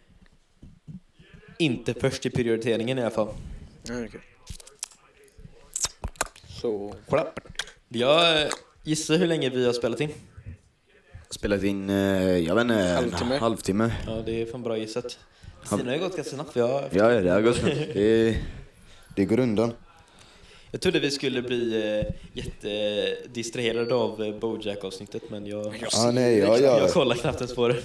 S2: inte först i prioriteringen i alla fall.
S3: Ja, okej. Så...
S2: Jag eh, gissar hur länge vi har spelat in.
S1: Spelat in, eh, jag vet inte,
S3: Halvtimme.
S1: en halvtimme.
S2: Ja, det är fan bra gissat. Stina har ju gått ganska snabbt. Jag,
S1: Ja, ja, det har gått snabbt. Det, det går undan.
S2: jag trodde vi skulle bli eh, jättedistraherade av eh, Bojack-avsnittet, men jag,
S1: Ja, nej, jag,
S2: jag
S1: jag,
S2: kollar knappt ens på det.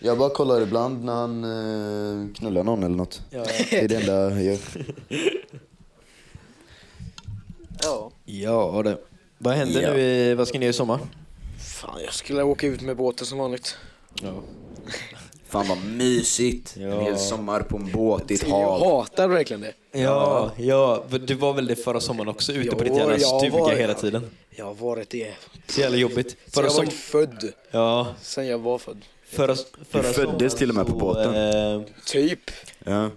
S1: jag bara kollar ibland när han eh, knullar någon eller något.
S2: Ja,
S1: Det är det enda jag gör.
S3: Ja.
S2: ja det. Vad händer
S1: Ja.
S2: nu? I, vad ska ni göra i sommar?
S3: Fan, jag skulle åka ut med båten som vanligt.
S2: Ja.
S1: Fan vad mysigt.
S2: Ja.
S1: En hel sommar på en båt i ett
S3: Jag
S1: hav.
S3: hatar verkligen det.
S2: Ja, ja, för du var väl det förra sommaren också, ute på
S3: Jo,
S2: ditt jävla
S3: jag
S2: stuga
S3: var-
S2: hela tiden.
S3: Jag har varit det.
S2: Så jävla jobbigt.
S3: Sen
S2: Förra,
S3: jag
S2: som,
S3: var född.
S2: ja,
S3: Sen jag var född.
S2: förra, förra
S1: föddes
S2: sommaren
S1: till och med på
S2: så,
S1: båten.
S2: eh,
S3: Typ.
S1: Ja.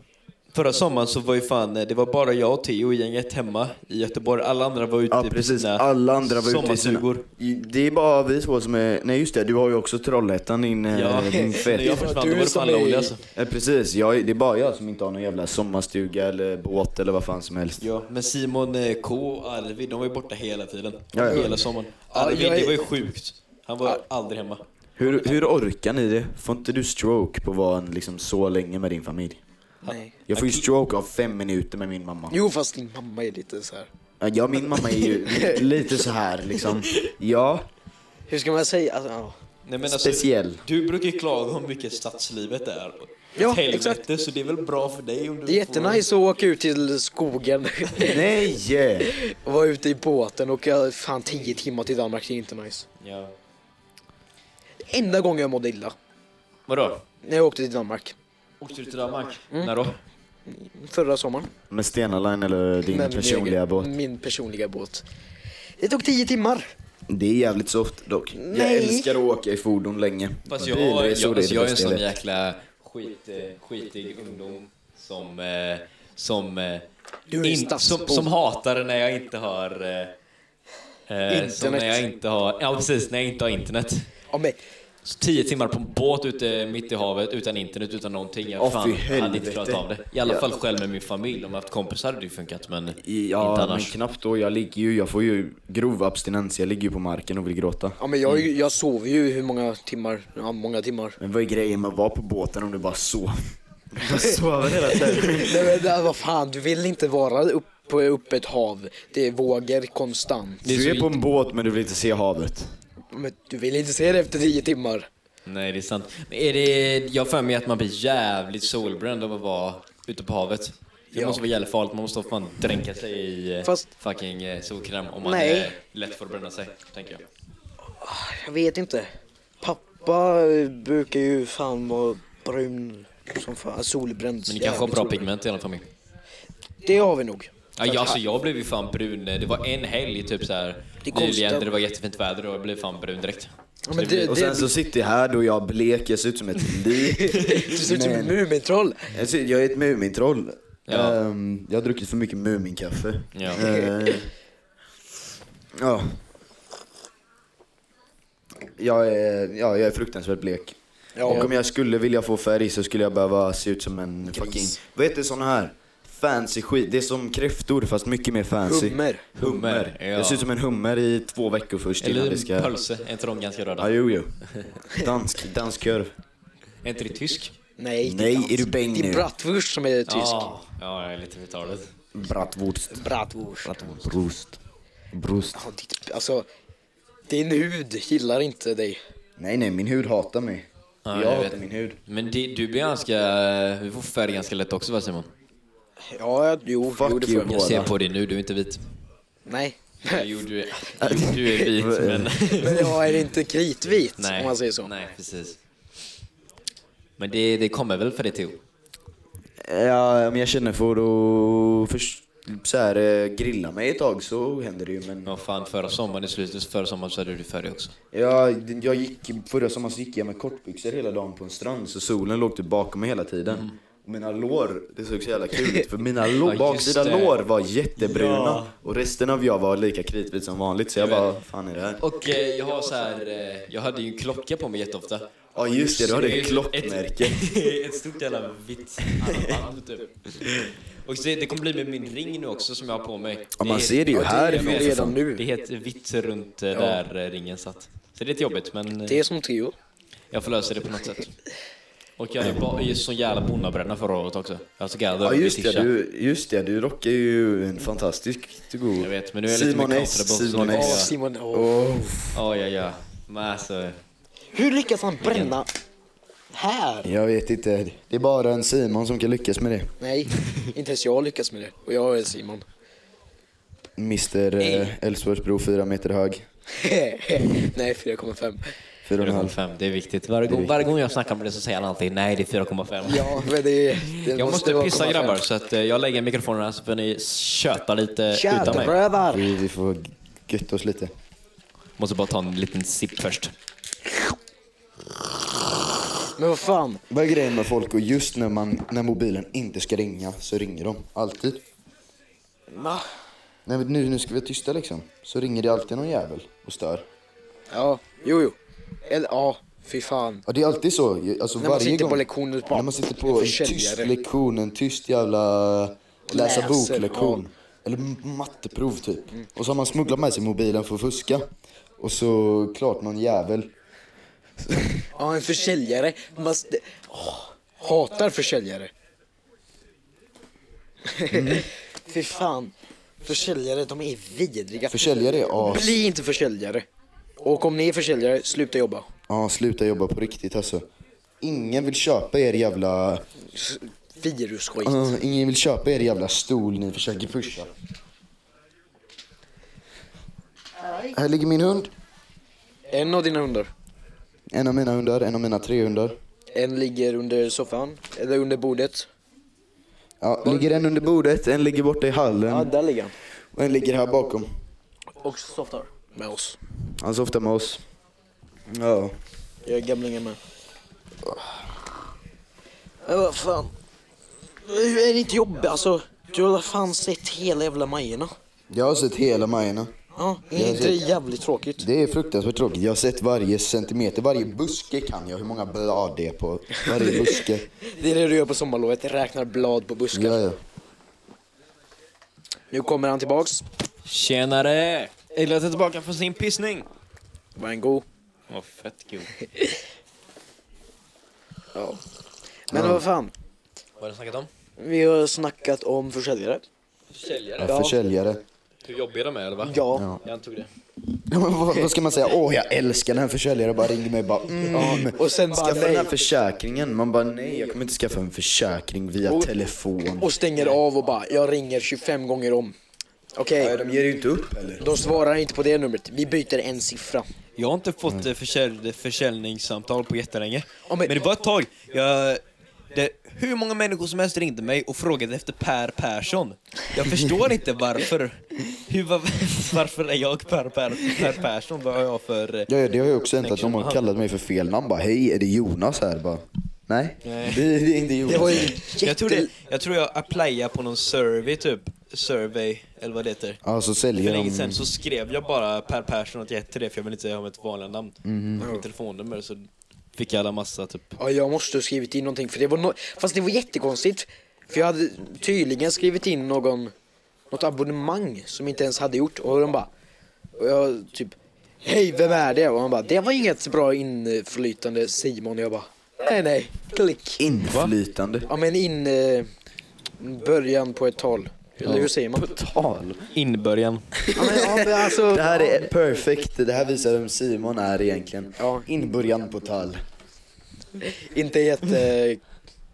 S2: förra sommaren så var ju fan, eh, det var bara jag och Theo i gänget hemma i Göteborg. Alla andra var ute
S1: ja,
S2: på
S1: precis.
S2: sina
S1: Alla andra var ute i sina...
S2: sommarstugor.
S1: Det är bara vi två som är... Nej, just det. Du har ju också Trollhättan, din, eh,
S2: Ja,
S1: din
S2: när jag
S1: fett.
S2: försvann
S3: Du
S2: då var det
S3: som
S2: fan
S3: är-
S2: Lolly alltså.
S1: Ja, precis. Jag, det är bara jag som inte har någon jävla sommarstuga eller båt eller vad fan som helst.
S2: Ja, men Simon eh, K och Arvid, de var ju borta hela tiden.
S1: Ja, ja.
S2: Hela sommaren.
S3: Ja,
S2: Arvid,
S3: jag är-
S2: det var ju sjukt. Han var aldrig hemma.
S1: Hur, hur orkar ni det? Får inte du stroke på att vara en, liksom, så länge med din familj?
S3: Nej.
S1: Jag får ju stroke av fem minuter med min mamma.
S3: Jo, fast din mamma är lite så här.
S1: Ja, min mamma är ju lite så här liksom. Ja,
S3: Hur ska man säga? Alltså, ja.
S2: Nej, men alltså,
S1: speciell.
S2: Du brukar ju klaga om mycket stadslivet är.
S3: Ja,
S2: Ett helvete,
S3: exakt.
S2: så det är väl bra för dig om du
S3: Det är jättenice att åka ut till skogen
S1: Nej!
S3: och vara ute i båten och åka fan 10 timmar till Danmark. Det är inte nice.
S2: får... Ja.
S3: Enda gången jag mådde illa,
S2: Vadå?
S3: när jag åkte till Danmark.
S2: Åkte du till Danmark?
S3: Mm.
S2: När då?
S3: Förra sommaren.
S1: Med Stena Line eller din
S3: Med min
S1: personliga
S3: egen-
S1: båt.
S3: Min personliga båt. Det tog 10 timmar.
S1: Det är jävligt soft dock. Jag
S3: Nej.
S1: älskar att åka i fordon länge.
S5: Fast jag,
S1: Bilresor,
S5: jag,
S1: det
S5: alltså,
S1: det
S5: jag är en
S1: bästa
S5: sån
S1: vet.
S5: jäkla skit, eh, skitig ungdom som, eh, som, eh,
S3: Du är
S5: in, som,
S3: stadsbo.
S5: som hatar när jag inte har... eh, Eh, som när
S3: Internet.
S5: jag inte har... Ja, precis. När jag inte har internet.
S3: Ja, men,
S5: Så tio timmar på en båt ute mitt i havet utan internet, utan någonting. Jag
S1: Åh,
S5: fan,
S1: fy
S5: hade inte
S1: helvete.
S5: klarat av det. I alla fall själv med min familj. Om jag haft kompisar hade det ju funkat, men inte
S1: Ja, men
S5: annars.
S1: knappt då. Jag ligger ju, jag får ju grov abstinens. Jag ligger ju på marken och vill gråta.
S3: ja, men jag, jag sov ju hur många timmar? Ja, många timmar.
S1: Men vad är grejen med att vara på båten om du bara sover? Bara sover hela tiden.
S3: Nej, men, det- vad fan, du vill inte vara upp på öppet hav. Det är vågor konstant.
S1: Du är på en båt men du vill inte se havet.
S3: Men du vill inte se det efter 10 timmar.
S5: Nej, det är sant. Men är det, jag har för mig att man blir jävligt solbränd av att vara ute på havet. Det
S3: Ja.
S5: måste vara jävligt farligt, man måste fan dränka sig i eh,
S3: Fast-
S5: fucking eh, solkräm om man
S3: Nej.
S5: eh, lätt får bränna sig, tänker jag.
S3: Jag vet inte. Pappa eh, brukar ju fan vara brun som fan, Alltså, solbränd.
S5: Men ni kanske har bra pigment i alla fall.
S3: Det har vi nog.
S5: Ja, jag, alltså, jag blev ju fan brun, eh, det var en helg typ så här
S3: Det är konstigt
S5: nyligen
S3: att-
S5: där det var jättefint väder och jag blev fan brun direkt.
S3: Ja, men det,
S1: Och
S3: det,
S1: sen så sitter jag här då jag är blek, jag ser ut som ett lik.
S3: du ser ut som
S1: Men-
S3: ett Mumintroll.
S1: Jag ser- jag är ett Mumintroll.
S5: Ja.
S1: Ehm, jag har druckit för mycket Muminkaffe.
S3: Eh,
S5: Ja.
S1: Ehm, ja. Jag är, ja, jag är fruktansvärt blek. Och om jag skulle vilja få färg så skulle jag behöva se ut som en fucking... Vad heter sån här? Fancy skit. Det är som kräftor fast mycket mer fancy.
S3: Hummer.
S1: Hummer.
S5: Ja.
S1: Jag ser ut som en hummer i två veckor först innan
S5: Eller
S1: det ska...
S5: pölse, är inte de ganska röda?
S1: Ja, jo, jo. Dansk, dansk kurv.
S5: Är inte det tysk?
S3: Nej, det
S1: Nej,
S3: inte
S1: är du
S3: alls.
S1: bäng
S3: Det
S1: nu?
S3: är Bratwurst som är tysk.
S5: Ja, ja, jag är lite retarded.
S1: Bratwurst.
S3: Bratwurst.
S1: Brust. Brust.
S3: Ja, ditt, alltså, din hud gillar inte dig.
S1: Nej, nej, min hud hatar mig.
S5: Ja,
S1: jag
S5: jag
S1: hatar
S5: vet.
S1: min hud.
S5: Men det, du blir ganska... Du får färg ganska lätt också va Simon?
S3: Ja, jo,
S1: Fuck
S3: jo det
S1: you,
S3: får jag.
S5: Jag
S1: Båda.
S5: ser på dig nu, du är inte vit.
S3: Nej.
S5: Jo, du är, du, du är vit men...
S3: Men jag är inte kritvit
S5: Nej.
S3: om man säger så.
S5: Nej, precis. Men det, det kommer väl för dig Theo?
S1: Ja, om jag känner för att först, så här, eh, grilla mig ett tag så händer det ju. Men
S5: Ja, fan förra sommaren, i slutet förra sommaren så hade du färg också.
S1: jag, jag gick, förra sommaren så gick jag med kortbyxor hela dagen på en strand så solen låg typ bakom mig hela tiden. Och Mina lår, det såg så jävla kul ut för mina lår,
S5: just
S1: baksida
S5: det.
S1: lår var jättebruna och resten av jag var lika kritvit som vanligt så jag bara, fan är det här?
S5: Och eh, jag har så här, eh, jag hade ju en klocka på mig jätteofta.
S1: Ja just det, du hade ett klockmärke.
S5: Ett, ett stort jävla vitt armband typ. Och så, det kommer bli med min ring nu också som jag har på mig.
S1: Ja, man ser det ju
S5: Ja,
S1: här
S5: jag vet.
S3: redan nu.
S5: Det är helt vitt runt eh, där eh, ringen satt. Så Det är lite jobbigt, men eh,
S3: Det är som trio.
S5: jag får lösa det på något sätt. Och jag är ba- jag är så jävla bonnabränna förra året också. Alltså, Jag tog över
S1: Ja
S5: vid
S1: just det,
S5: Tisha.
S1: du, just det, du rockar ju en fantastisk duo.
S5: Jag vet, men nu är jag lite
S1: Simon
S5: mer
S1: S,
S5: kontrabas, så
S1: Simon
S5: det är
S3: Ja,
S1: S.
S5: Ja.
S3: Simon. åh.
S5: Ja, ja, ja. Men alltså,
S3: Hur lyckas han bränna här?
S1: Jag vet inte, det är bara en Simon som kan lyckas med det.
S3: Nej, inte ens jag lyckas med det. Och jag är Simon.
S1: Mr eh, Älvsborgsbro, fyra meter hög.
S3: Nej, 4,5.
S1: Fyra och en halv.
S5: 4,5. Det är viktigt. Varje gång, varje gång jag snackar om det så säger han alltid nej, det är 4,5.
S3: Ja, men det, det
S5: Jag måste
S3: vara
S5: pissa
S3: 0,5.
S5: grabbar, så att eh, jag lägger mikrofonen här så får ni köta lite utan mig.
S3: Tjatrövar!
S1: Vi, vi får götta oss lite.
S5: Måste bara ta en liten sipp först.
S3: Men vad fan?
S1: Vad är grejen med folk och just när, man, när mobilen inte ska ringa så ringer de alltid?
S3: Va?
S1: Nej, men nu, nu ska vi vara tysta liksom. Så ringer det alltid någon jävel och stör.
S3: Ja, jo, jo. Eller ja, fy fan.
S1: Ja, det är alltid så. Alltså,
S3: man
S1: varje
S3: sitter
S1: gång,
S3: på lektionen och bara-
S1: När man sitter på
S3: en
S1: en
S3: försäljare.
S1: tyst lektion, en tyst jävla läsa
S3: Läser, Mm.
S1: bok-lektion. Eller m- matteprov typ. Och så har man smugglat med sig mobilen för att fuska. Och så klart någon jävel.
S3: Ja, en försäljare. Man, s- det, åh, hatar försäljare.
S5: Mm.
S3: fy fan. Försäljare, de är vidriga.
S1: Försäljare är as.
S3: Bli inte försäljare. Och om ni är försäljare, sluta jobba.
S1: Ja, sluta jobba på riktigt alltså. Ingen vill köpa er jävla...
S3: S- Virusskit.
S1: Ja, ingen vill köpa er jävla stol ni försöker pusha. Här ligger min hund.
S3: En av dina hundar.
S1: En av mina hundar, en av mina tre hundar.
S3: En ligger under soffan, eller under bordet.
S1: Ja, ligger en under bordet, en ligger borta i
S3: Ja,
S1: hallen
S3: där ligger han.
S1: och en ligger här bakom.
S3: Och softar. Med oss.
S1: Han softar med oss. Ja.
S3: Jag är gamlingen med. Men vad fan. Är det inte jobbigt alltså? Du har fan sett hela jävla Majorna.
S1: Jag har sett hela Majorna.
S3: Ja,
S1: Jag
S3: är
S1: har
S3: inte det
S1: sett-
S3: jävligt tråkigt?
S1: Det är fruktansvärt tråkigt. Jag har sett varje centimeter, varje buske kan jag. Hur många blad det är på varje buske.
S3: Det är det du gör på sommarlovet, räknar blad på buskar.
S1: Ja, ja.
S3: Nu kommer han tillbaks.
S5: Tjenare! Elias är tillbaka från sin pissning.
S3: Var en god.
S5: Åh, fett kul.
S3: Ja. Men vad fan.
S5: Vad har du snackat om?
S3: Vi har snackat om försäljare.
S5: Försäljare?
S1: ja försäljare.
S5: Hur jobbiga de är eller va?
S3: Ja.
S5: Jag antog det.
S1: Ja, men vad, vad ska man säga? Åh, jag älskar den här försäljaren. Bara ringer mig och bara mm.
S3: Och sen bara
S1: Skaffa den här
S3: nej.
S1: försäkringen. Man bara nej, jag kommer inte skaffa en försäkring via telefon.
S3: Och stänger av och bara, jag ringer 25 gånger om. Okej,
S1: Nej, de ger ju inte upp heller.
S3: de svarar inte på det numret. Vi byter en siffra.
S2: Jag har inte fått eh, försälj, försäljningssamtal på jättelänge.
S3: men-
S2: men... det var ett tag. Jag, det, hur många människor som helst ringde mig och frågade efter Per Persson. Jag förstår inte varför. Hur, var, varför är jag Per, per, per Persson? Vad har jag för... eh,
S1: Ja, ja, det har ju också hänt att de har kallat mig för fel namn. Bara hej, är det Jonas här? Bara, nej, Det, det är inte Jonas.
S3: Det var ju
S2: Jag tror,
S3: jätte-
S2: det, jag tror jag applyade på någon survey typ. Survey, eller vad det heter.
S1: Ja, så
S2: För
S1: säljer
S2: länge
S1: de.
S2: sedan så skrev jag bara Per Persson och jag hette det för jag ville inte ha mitt vanliga namn. Mm. Mitt telefonnummer så fick jag alla massa typ.
S3: Ja, jag måste ha skrivit in någonting för det var no... Fast det var jättekonstigt. För jag hade tydligen skrivit in någon... Något abonnemang som inte ens hade gjort och de bara... Och jag typ... Hej, vem är det? Och han bara, det var inget bra inflytande Simon. Och jag bara, nej nej, klick.
S1: Inflytande.
S3: Ja men in... Eh, början på ett tal. Eller hur säger man?
S1: Tal.
S5: Inbörjan.
S3: Ja, men, ja, men alltså,
S1: Det här är perfekt. Det här visar vem Simon är egentligen.
S3: Ja.
S1: Inbörjan på tal.
S3: Inte jätte... Mm.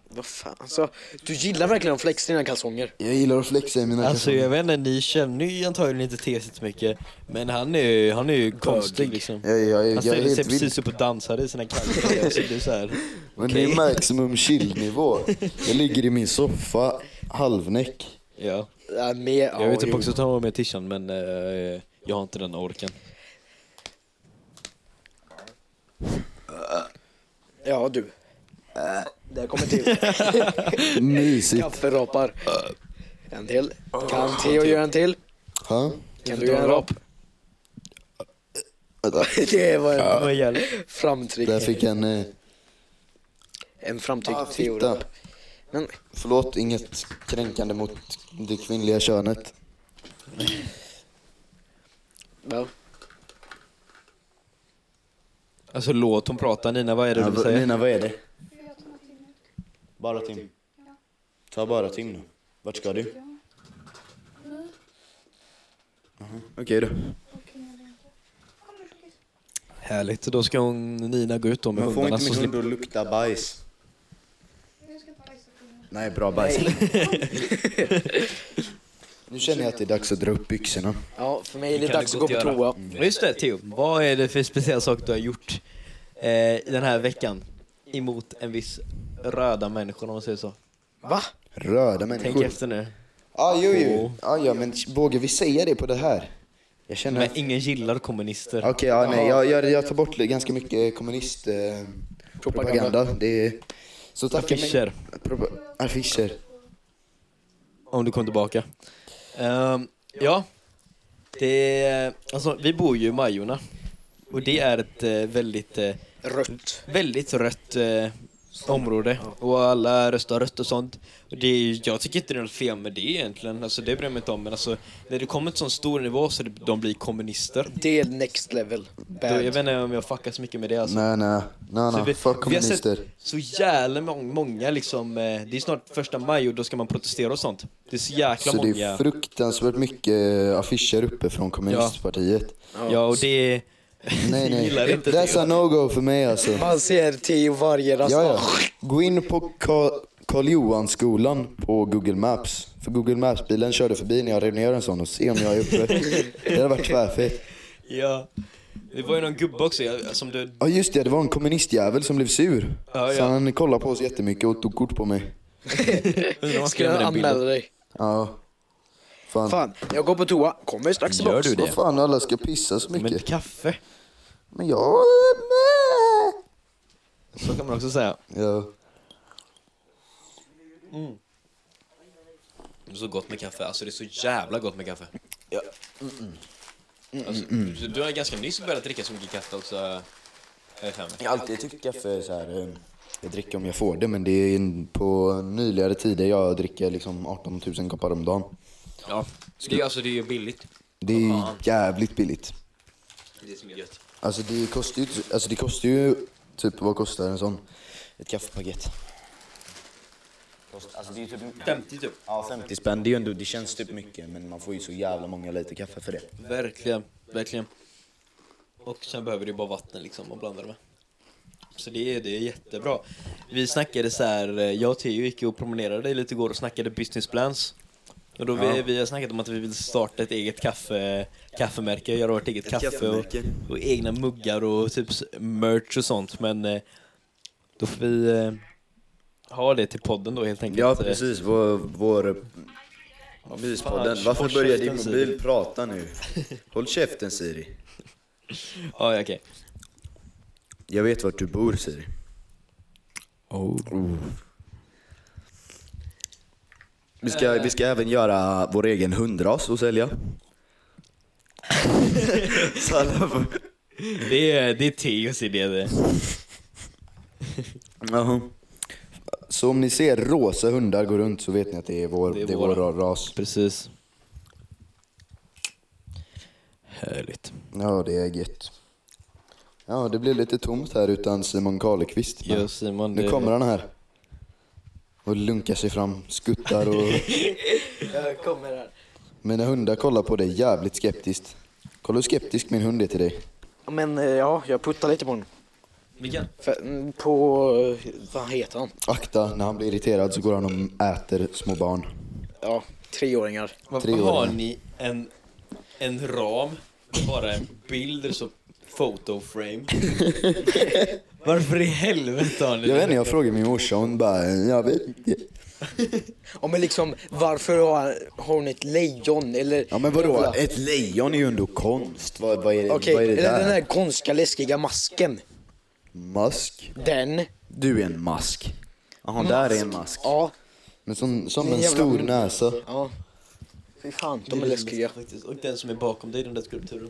S3: Vad fan, alltså. Du gillar verkligen att flexa dina kalsonger.
S1: Jag gillar att flexa i mina
S2: Alltså jag vet inte, ni känner ju antagligen inte TC så mycket. Men han är ju, han är ju konstig liksom.
S1: jag, jag,
S2: Han
S1: jag, jag är
S2: ställde sig
S1: helt vild.
S2: precis upp och dansade i sina kallingar. och så blev det så här.
S1: Men det är maximum chillnivå. Jag ligger i min soffa, halvnäck.
S2: Ja.
S3: Ja, Äh, med, ja,
S2: Jag vill typ
S3: jo.
S2: också ta med tishan men eh, jag har inte den orken.
S3: Ja, du. Äh, Där kommer till.
S1: Mysigt.
S3: Kafferapar. En till. Kan Theo göra en till?
S1: Ha?
S3: Kan du göra en rap?
S1: Vänta.
S3: Det var en
S2: Vad gäller?
S3: framtryck.
S1: Där fick han... Eh,
S3: En framtryck
S1: Ah,
S3: Theo-rap.
S1: fitta.
S3: Men
S1: förlåt, inget kränkande mot det kvinnliga könet.
S3: ja.
S2: Alltså låt hon prata. Nina, vad är det du vill
S1: vad-
S2: säga?
S1: Nina, vad är det? Bara Tim. Ta bara Tim då. Vart ska du? Aha, Okej då.
S2: Härligt, då ska hon, Nina gå ut då med
S1: Men får
S2: hundarna
S1: inte
S2: så
S1: min hund
S2: slipper...
S1: att lukta bajs? Nej, bra bajs. nu känner jag att det är dags att dra upp byxorna.
S3: Ja, för mig är det
S2: kan
S3: dags
S2: det
S3: att gå
S2: gott
S3: på
S2: göra.
S3: toa.
S2: Just det, Theo. Vad är det för speciell sak du har gjort eh, den här veckan emot en viss röda människa om man säger så?
S3: Va?
S1: Röda
S2: Tänk
S1: människor.
S2: efter nu.
S1: Ah, jo, jo. Ah, ja, men vågar vi säga det på det här? Jag känner...
S2: Men ingen gillar kommunister.
S1: Okej, ja, nej, jag, jag, jag tar bort ganska mycket kommunist eh, propaganda. Det är... Så tackar mig-
S2: Affischer.
S1: Propa- Affischer.
S2: Om du kom tillbaka. Ehm, ja. Det är, alltså, vi bor ju i Majorna. Och det är ett eh, väldigt, eh,
S3: Rött.
S2: väldigt rött eh, område. Och alla röstar rött och sånt. Och det är, jag tycker inte det är något fel med det egentligen. Alltså, det bryr jag mig inte om. Men alltså, när det kommer till sån stor nivå så det, de blir kommunister.
S3: Det är next level.
S2: Då, jag
S3: Bad.
S2: vet inte om jag fuckar så mycket med det alltså.
S1: Nej, nej. Nej,
S2: Så
S1: nej.
S2: vi-
S1: Fuck
S2: vi har sett-
S1: kommunister.
S2: Så jävla mång- många liksom, eh, det är snart första maj och då ska man protestera och sånt. Det är så
S1: Så
S2: jäkla
S1: det
S2: många.
S1: är fruktansvärt mycket affischer uppe från kommunistpartiet.
S2: Ja, och det är...
S1: Nej, nej.
S2: gillar inte det.
S1: That's a no-go för mig alltså.
S3: Man ser tio varje rast.
S1: Ja, ja. Gå in på Ka- Karl Johan-skolan på Google Maps. För Google Maps-bilen körde förbi när jag rev ner en sån och se om jag är uppe. Det hade varit tvärfett.
S2: Ja. Det var ju någon gubbe också jag- som du...
S1: Ja just det, det var en kommunistjävel som blev sur.
S2: Ja,
S1: Så
S2: ja.
S1: han kollade på oss jättemycket och tog kort på mig.
S2: Undrar om man ska
S3: Ska
S2: göra
S3: jag
S2: den bilden.
S3: anmäla dig?
S1: Ja. Fan.
S3: Fan, jag går på toa. Kommer strax
S2: Gör
S3: tillbaks.
S2: du
S1: Vad
S2: det?
S1: fan alla ska pissa så
S2: Men
S1: mycket.
S2: kaffe,
S1: Men jag är med.
S2: så kan man också säga.
S1: Ja.
S2: Det är så gott med kaffe, alltså det är så jävla gott med kaffe.
S1: Ja. Mm,
S2: Alltså, du, du har ganska nyss börjat dricka så mycket kaffe också. eh, Fem.
S1: Jag har alltid tyckt kaffe är så här. eh, Jag dricker om jag får det men det är in- på nyligare tider jag dricker liksom 18 000 koppar om dagen.
S2: Ja. Det är, alltså det är ju billigt.
S1: Det är ju jävligt billigt.
S2: Det är det som är gött.
S1: Alltså det kostar ju, alltså det kostar ju typ vad kostar en sån? Ett kaffepaket. Alltså det är typ
S2: 50 typ.
S1: ja, 50 spänn, det, är ju ändå, det känns typ mycket men man får ju så jävla många liter kaffe för det.
S2: Verkligen, verkligen. Och sen behöver du bara vatten liksom och blanda det med. Så det är, det är jättebra. Vi snackade så här, eh, jag och Theo gick och promenerade lite igår och snackade business plans. Och då vi, vi har snackat om att vi vill starta ett eget kaffe, kaffemärke, göra vårt eget kaffe och, och egna muggar och typ s- merch och sånt. Men eh, då får vi eh, ha det till podden då helt enkelt.
S1: Ja precis, vår, vår myspodden. Varför
S2: håll
S1: börjar din
S2: käften, Siri.
S1: mobil prata nu? Håll käften Siri.
S2: Ja, ja, okej.
S1: Jag vet vart du bor Siri. Oh. Vi, ska, vi ska även göra vår egen hundras och sälja. Så alla får...
S2: Det är, det är Theos idé det.
S1: Jaha. Så om ni ser rosa hundar gå runt så vet ni att det är vår, det är vår ras.
S2: Precis. Härligt.
S1: Ja, det är gött. Ja, det blev lite tomt här utan Simon Karlekvist. men
S2: Ja, Simon,
S1: nu
S2: det-
S1: kommer han här. Och lunkar sig fram, skuttar och...
S3: Jag kommer här.
S1: Mina hundar kollar på dig jävligt skeptiskt. Kolla hur skeptisk min hund är till dig.
S3: Men eh, ja, jag puttar lite på honom.
S2: Vilken?
S3: För, mm, på... eh, Vad heter han?
S1: Akta, när han blir irriterad så går han och äter små barn.
S3: Ja, treåringar.
S2: Varför
S1: Treåringar.
S2: har ni en, en ram med bara en bild eller så photo frame? Varför i helvete har ni
S1: Jag vet
S2: det?
S1: inte, jag frågade min morsa och hon bara, jag vet inte.
S3: Ja men liksom, varför har, har hon ett lejon eller...
S1: Ja men vadå, ett lejon är ju ändå konst. Vad, vad, är,
S3: Okej,
S1: vad är det
S3: eller
S1: där?
S3: den här konstiga läskiga masken.
S1: Mask.
S3: Den.
S1: Du är en mask. Jaha, där är en mask.
S3: Ja.
S1: Men som, som
S3: Det är
S1: en
S3: jävla-
S1: stor näsa.
S3: Ja. Fy fan,
S2: Det
S3: de är läskiga.
S2: faktiskt. Och den som är bakom dig, den där skulpturen.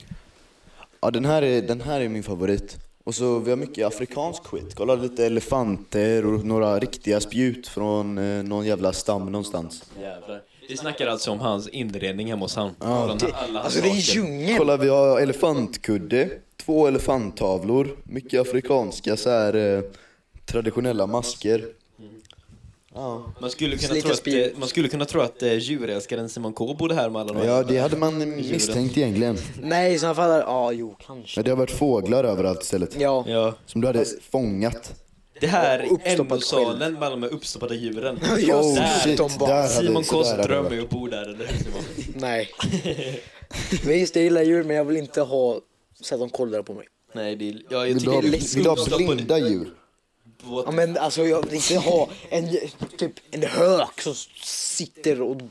S1: Ja den här är, den här är min favorit. Och så vi har mycket afrikansk skit. Kolla lite elefanter och några riktiga spjut från eh, någon jävla stam någonstans.
S2: Jävlar.
S5: Vi snackar alltså om hans inredning hemma hos han. Alla-
S1: det-
S5: alla hans
S3: Alltså det är
S5: saker.
S3: djungel.
S1: Kolla vi har elefantkudde, två elefanttavlor, mycket afrikanska så här eh, traditionella masker. Ja.
S2: Man skulle kunna
S3: Lite
S2: tro att,
S3: spjut.
S2: eh, man skulle kunna tro att eh, djurälskaren Simon K bodde här med alla de här.
S1: ja, det hade man misstänkt egentligen.
S3: Nej, i sådana fall... Ja, jo, kanske.
S1: Men det har varit fåglar överallt istället.
S3: Ja.
S2: Ja.
S1: Som du hade fångat.
S2: Det här är
S3: Uppstoppad
S2: NO-salen med alla de här uppstoppade djuren.
S3: Just
S1: Oh
S3: det.
S1: shit,
S3: De bara,
S1: där hade
S2: Simon Ks
S1: där hade
S2: dröm
S1: varit.
S2: är att bo där, eller hur Simon?
S3: Nej. Visst, jag gillar djur, men jag vill inte ha så att de kollar på mig.
S2: Nej, det är, ja, jag
S1: Vill du ha,
S2: tycker
S3: liksom
S1: vill du ha blinda djur?
S3: Ja, men alltså jag vill inte ha en, typ, en hök som sitter och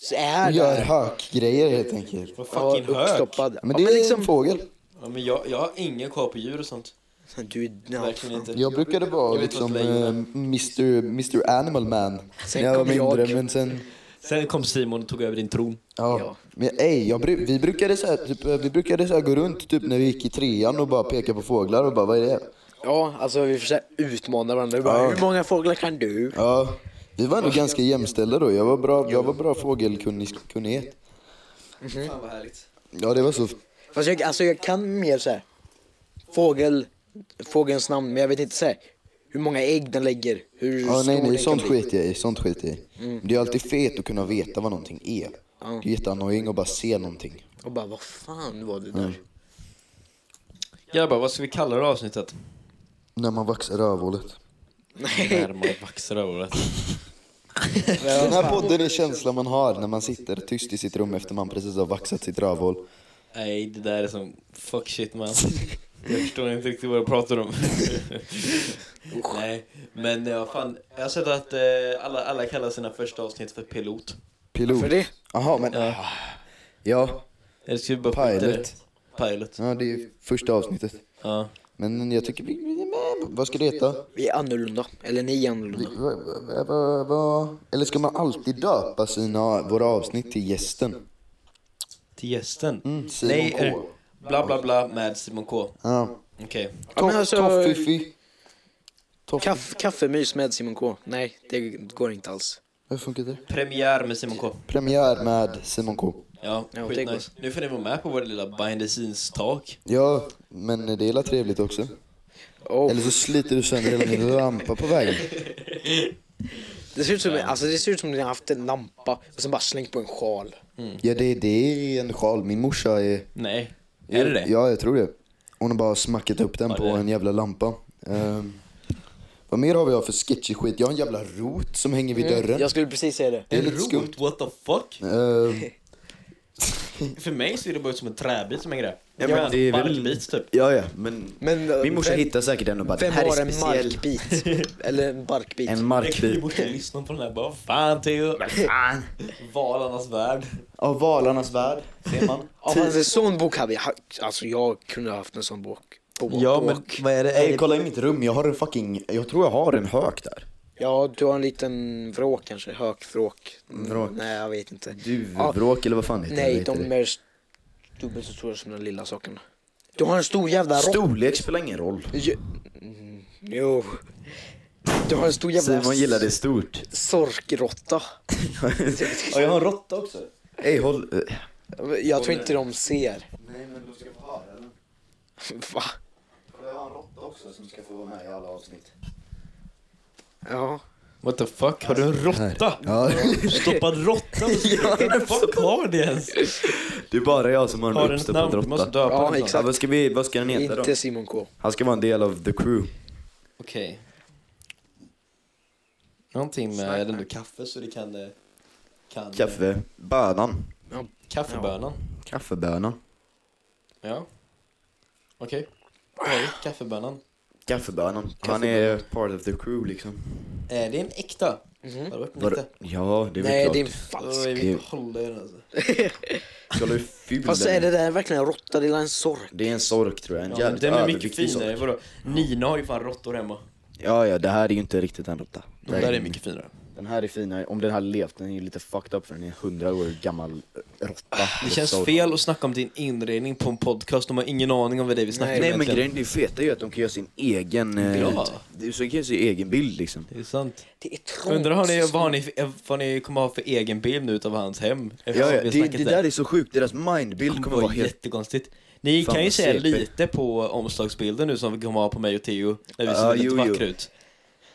S3: så är
S1: Gör
S3: där.
S1: hökgrejer helt enkelt.
S2: Vad
S3: Ja,
S2: fucking hök.
S3: uppstoppad.
S1: Men
S3: Ja,
S1: det är
S3: men
S1: en
S3: liksom...
S1: fågel.
S2: Ja, men jag, jag har ingen koll på djur och sånt.
S3: Du, ja,
S2: Verkligen inte.
S1: Jag brukade vara
S2: Jag vet
S1: liksom
S2: vad ett
S1: eh,
S2: lejon
S1: Mr, Mr Animal Man
S3: Sen
S1: när jag var
S3: kom jag.
S1: mindre men sen
S2: Sen kom Simon och tog över din tron.
S1: Ja.
S3: Ja.
S1: Men ey, jag, bru- vi brukade, så här, typ, eh, vi brukade så här gå runt typ när vi gick i trean och bara peka på fåglar och bara vad är det?
S3: ja, alltså vi försöker utmana varandra. Vi bara,
S1: Ja.
S3: Hur många fåglar kan du?
S1: Ja. Vi var ändå ganska jämställda då. Jag var bra, jag var bra fågelkunnighet.
S2: Mhm. Fan vad härligt.
S1: Ja, det var så.
S3: Fast jag, alltså jag kan mer så här. Fågel, fågelns namn, men jag vet inte så här. Hur många ägg den lägger, hur
S1: Ja, nej,
S3: stor
S1: nej,
S3: den
S1: sånt
S3: kan bli.
S1: skiter jag i. Sånt skiter jag i.
S2: Mm.
S1: Men Det är alltid fet att kunna veta vad någonting är. Det är jätteannoying att bara se någonting.
S3: Och bara, vad fan var det där?
S1: Mm.
S2: Grabbar, vad ska vi kalla det här avsnittet?
S1: När man vaxar rövhålet.
S2: När man vaxar över det.
S1: Den här podden är känslan man har när man sitter tyst i sitt rum efter man precis har vaxat sitt rövhål.
S2: Nej, det där är som fuck shit man. Jag förstår inte riktigt vad du pratar om. Nej, men ja, fan. Jag har sett att eh, alla, alla kallar sina första avsnitt för pilot.
S1: Pilot.
S3: För det?
S1: Jaha, men... Ja,
S2: Eller ska vi bara skita i det?
S1: Pilot.
S2: Pilot.
S1: ja, det är ju första avsnittet.
S2: Ja.
S1: Men jag tycker... vi- men, Vad ska det heta?
S3: Vi är annorlunda, eller ni är annorlunda.
S1: Va- va- va- va- Eller ska man alltid döpa sina, våra avsnitt till gästen?
S2: Till gästen.
S1: Mm, Simon
S2: Nej,
S1: K.
S2: är- Bla bla bla med Simon K.
S1: Ja.
S2: Okej.
S3: Ja, men
S1: To-
S3: alltså-
S1: Toffiffi.
S3: Kaff, kaffemys med Simon K. Nej, det går inte alls.
S1: Hur funkar det?
S2: Premiär med Simon K.
S1: Premiär med Simon K.
S2: Ja,
S3: Ja,
S2: skitnice. Nu får ni vara med på vår lilla behind the scenes talk.
S1: Ja, men det är la trevligt också.
S3: Oh.
S1: Eller så sliter du sönder hela din lampa på vägen.
S3: Det ser ut som, alltså, det ser ut som ni har haft en lampa och sen bara slängt på en sjal.
S1: Ja, det, det är en sjal. Min morsa är...
S2: Nej. Är det det?
S1: Ja, jag tror det. Hon har bara smackat upp den
S2: Ja,
S1: på
S2: det-
S1: en jävla lampa. Ehm, vad mer har vi för sketchy skit? Jag har en jävla rot som hänger
S2: Mm,
S1: vid dörren.
S3: Jag skulle precis säga det.
S1: Det är lite skumt.
S2: What the fuck?
S1: Ehm,
S2: För mig ser det bara ut som en träbit som hänger där.
S1: Ja, men
S2: Bara en
S1: det är väl-
S2: barkbit typ.
S1: ja, ja, men...
S3: Men, eh,
S1: Min morsa
S3: vem-
S1: hittar säkert den och bara
S3: Vem
S1: den här
S3: har
S1: är
S3: en
S1: speciell.
S3: markbit? Eller en barkbit?
S1: En
S2: Min
S1: markbit.
S2: morsa lyssnar på den här bara "Vad fan Theo.
S1: Fan.
S2: Valarnas värld.
S1: Av Valarnas värld, ser man.
S3: Ja, fast en sån bok hade jag haft. Alltså jag kunde ha haft en sån bok. På bok.
S2: vad är det?
S1: Ey, kolla i mitt rum. Jag har en fucking... Jag tror jag har en hök där.
S3: Ja, du har en liten vråk kanske. Hökvråk. Mm,
S1: Vråk.
S3: Nej, jag vet inte. Ja,
S1: Duvvråk eller vad fan heter det?
S3: Nej,
S1: Vad heter
S3: de
S1: det?
S3: är dubbelt så stora som den lilla saken. Du har en stor jävla rock.
S1: Storlek spelar ingen roll.
S3: Jo. Mm, jo. Du har en stor jävla
S1: Simon gillar det stort.
S3: sorkrotta.
S2: Ja, jag har en råtta också.
S1: Ey, håll... eh,
S3: Jag tror inte de ser.
S1: Nej, men du ska få ha den.
S3: Va?
S1: Jag har en råtta också som ska få vara med i alla avsnitt.
S3: Ja.
S2: What the fuck? Har du en råtta?
S1: Ja,
S2: Stoppad råtta? Vad fuck har det ens?
S1: det är bara jag som har en
S2: Har den ett namn?
S1: uppstoppad
S2: Du måste
S1: råtta.
S2: döpa
S3: Ja,
S2: den sånt.
S3: exakt.
S1: Ja, vad, ska vi, vad ska den heta då?
S3: Inte Simon K.
S1: Han ska vara en del av the crew.
S2: Okej. Någonting med ändå kaffe så det kan... eh, kan
S1: Kaffebönan.
S2: Kaffebönan.
S1: Kaffebönan.
S2: Ja. Okej. Okay. Kaffebönan.
S1: Kaffebönan. Han
S2: Kaffebönan.
S1: är part of the crew liksom.
S2: Är det en äkta? Har det varit en
S1: Var,
S2: äkta?
S1: ja, det är väl
S3: Nej,
S1: klart.
S3: det är en
S2: Åh,
S3: falsk.
S2: jag vill
S1: Kul.
S2: inte hålla i den alltså.
S1: Kolla hur ful
S3: Fast
S1: den
S3: är det där verkligen en råtta? Det är en sork.
S1: Det är en sork tror jag. En
S2: Ja,
S1: jävligt
S2: den är mycket
S1: överviktig
S2: finare.
S1: sork.
S2: Vadå? Nina har ju fan råttor hemma.
S1: Ja, ja, det här är ju inte riktigt en råtta.
S2: De där är mycket finare.
S1: Den här är finare. Om den hade levt, den är ju lite fucked up för den är 100 år gammal eh, råtta.
S2: Ah, Det känns fel att snacka om din inredning på en podcast, de har ingen aning om vad det är vi snackar om
S1: Nej men
S2: egentligen.
S1: grejen, det feta är ju att de kan göra sin egen... eh,
S2: Ja.
S1: det- Så de kan göra sin egen bild liksom.
S2: Det är sant.
S3: Det är trångt.
S2: Undrar har ni, vad, har ni, för- vad ni kommer ha för egen bild nu utav hans hem?
S1: Ja,
S2: Eftersom
S1: ja,
S2: vi har
S1: det,
S2: snackat
S1: det där är så sjukt, deras mindbild kommer vara helt...
S2: jättekonstigt. Ni
S1: Fan,
S2: kan ju
S1: vad
S2: säga
S1: CP.
S2: lite på omslagsbilden nu som vi kommer ha på mig och Theo, när vi
S1: Ja,
S2: ser lite
S1: jo, jo.
S2: vackra ut.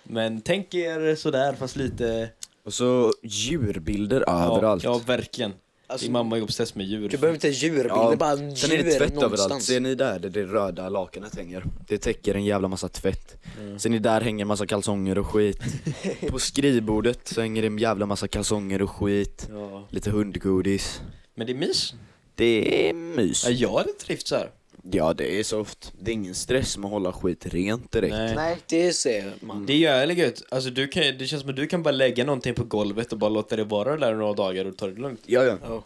S2: Men tänk er sådär fast lite...
S1: Och så djurbilder överallt.
S2: Ja, ja verkligen.
S3: Alltså,
S2: Din mamma är obsess med djur.
S3: Du behöver inte en djurbild, det är bara en djur
S1: Sen är det tvätt överallt,
S3: någonstans.
S1: ser ni där där det röda lakanet hänger? Det täcker en jävla massa tvätt. Ser ni där hänger en massa kalsonger och skit. På skrivbordet så hänger det en jävla massa kalsonger och skit.
S2: Ja.
S1: Lite hundgodis.
S2: Men det är mys.
S1: Det är mys.
S2: Ja, jag hade trivts här.
S1: Ja det är soft. Det är ingen stress med att hålla skit rent direkt.
S3: Nej, det ser
S1: Mm.
S3: man.
S2: Det är jävligt gött. Alltså, du kan, ju- det känns som att du kan bara lägga någonting på golvet och bara låta det vara där några dagar och ta det lugnt.
S1: Ja, ja.
S3: Ja.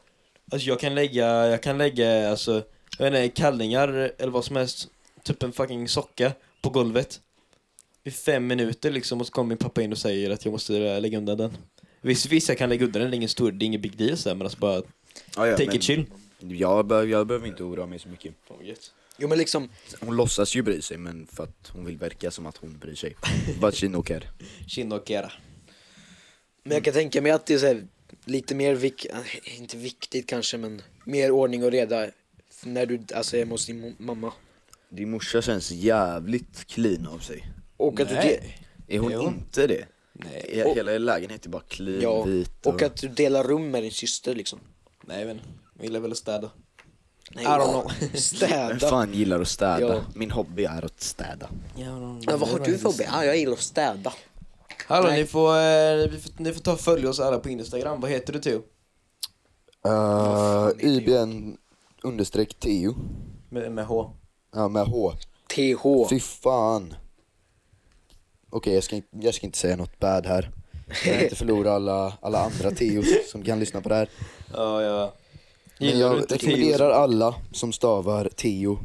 S2: Alltså jag kan lägga, jag kan lägga alltså, jag vet inte, kallingar eller vad som helst, typ en fucking socka på golvet. I fem minuter liksom och så kommer min pappa in och säger att jag måste eh, lägga undan den. Visst, visst jag kan lägga undan den, det är ingen stor, det är ingen big deal så här, men alltså bara
S1: ja, ja
S2: take
S1: men
S2: it chill.
S1: Jag, bör, jag behöver inte oroa mig så mycket.
S3: Jo men liksom,
S1: Hon låtsas ju bry sig men för att hon vill verka som att hon bryr sig. Vad Shinokar.
S2: Shinnokera.
S3: men jag kan tänka mig att det är så här, lite mer vik äh, inte viktigt kanske men mer ordning och reda när du alltså, är hemma hos din mo- mamma.
S1: Din morsa känns jävligt clean av sig.
S3: Och att, du, de-
S1: Är hon
S2: Jo.
S1: inte det?
S2: Nej,
S1: He- Hela lägenheten är bara clean,
S3: ja,
S1: vit
S3: och att du delar rum med din syster liksom.
S2: nej men, jag gillar väl att städa.
S3: Nej,
S2: I don't know.
S1: Vem
S3: Städa.
S1: fan gillar att städa?
S3: Ja.
S1: Min hobby är att städa.
S3: Ja, vad har du för hobby? Ah, jag gillar att städa.
S2: Hallå
S3: Nej.
S2: ni får, eh, vi får, ni får ta och följa oss alla på Instagram, vad heter du Theo?
S1: Uh, IBN understreck Teo.
S2: Med, med H.
S1: Ja med H.
S3: TH.
S1: Fy fan. Okej jag, ska inte- jag ska inte säga något bad här. Jag vill inte förlora alla, alla andra Teos som kan lyssna på det här.
S2: Ja, ja.
S1: Men
S2: Gillar
S1: jag
S2: du inte Theo så-
S1: rekommenderar alla som stavar Teo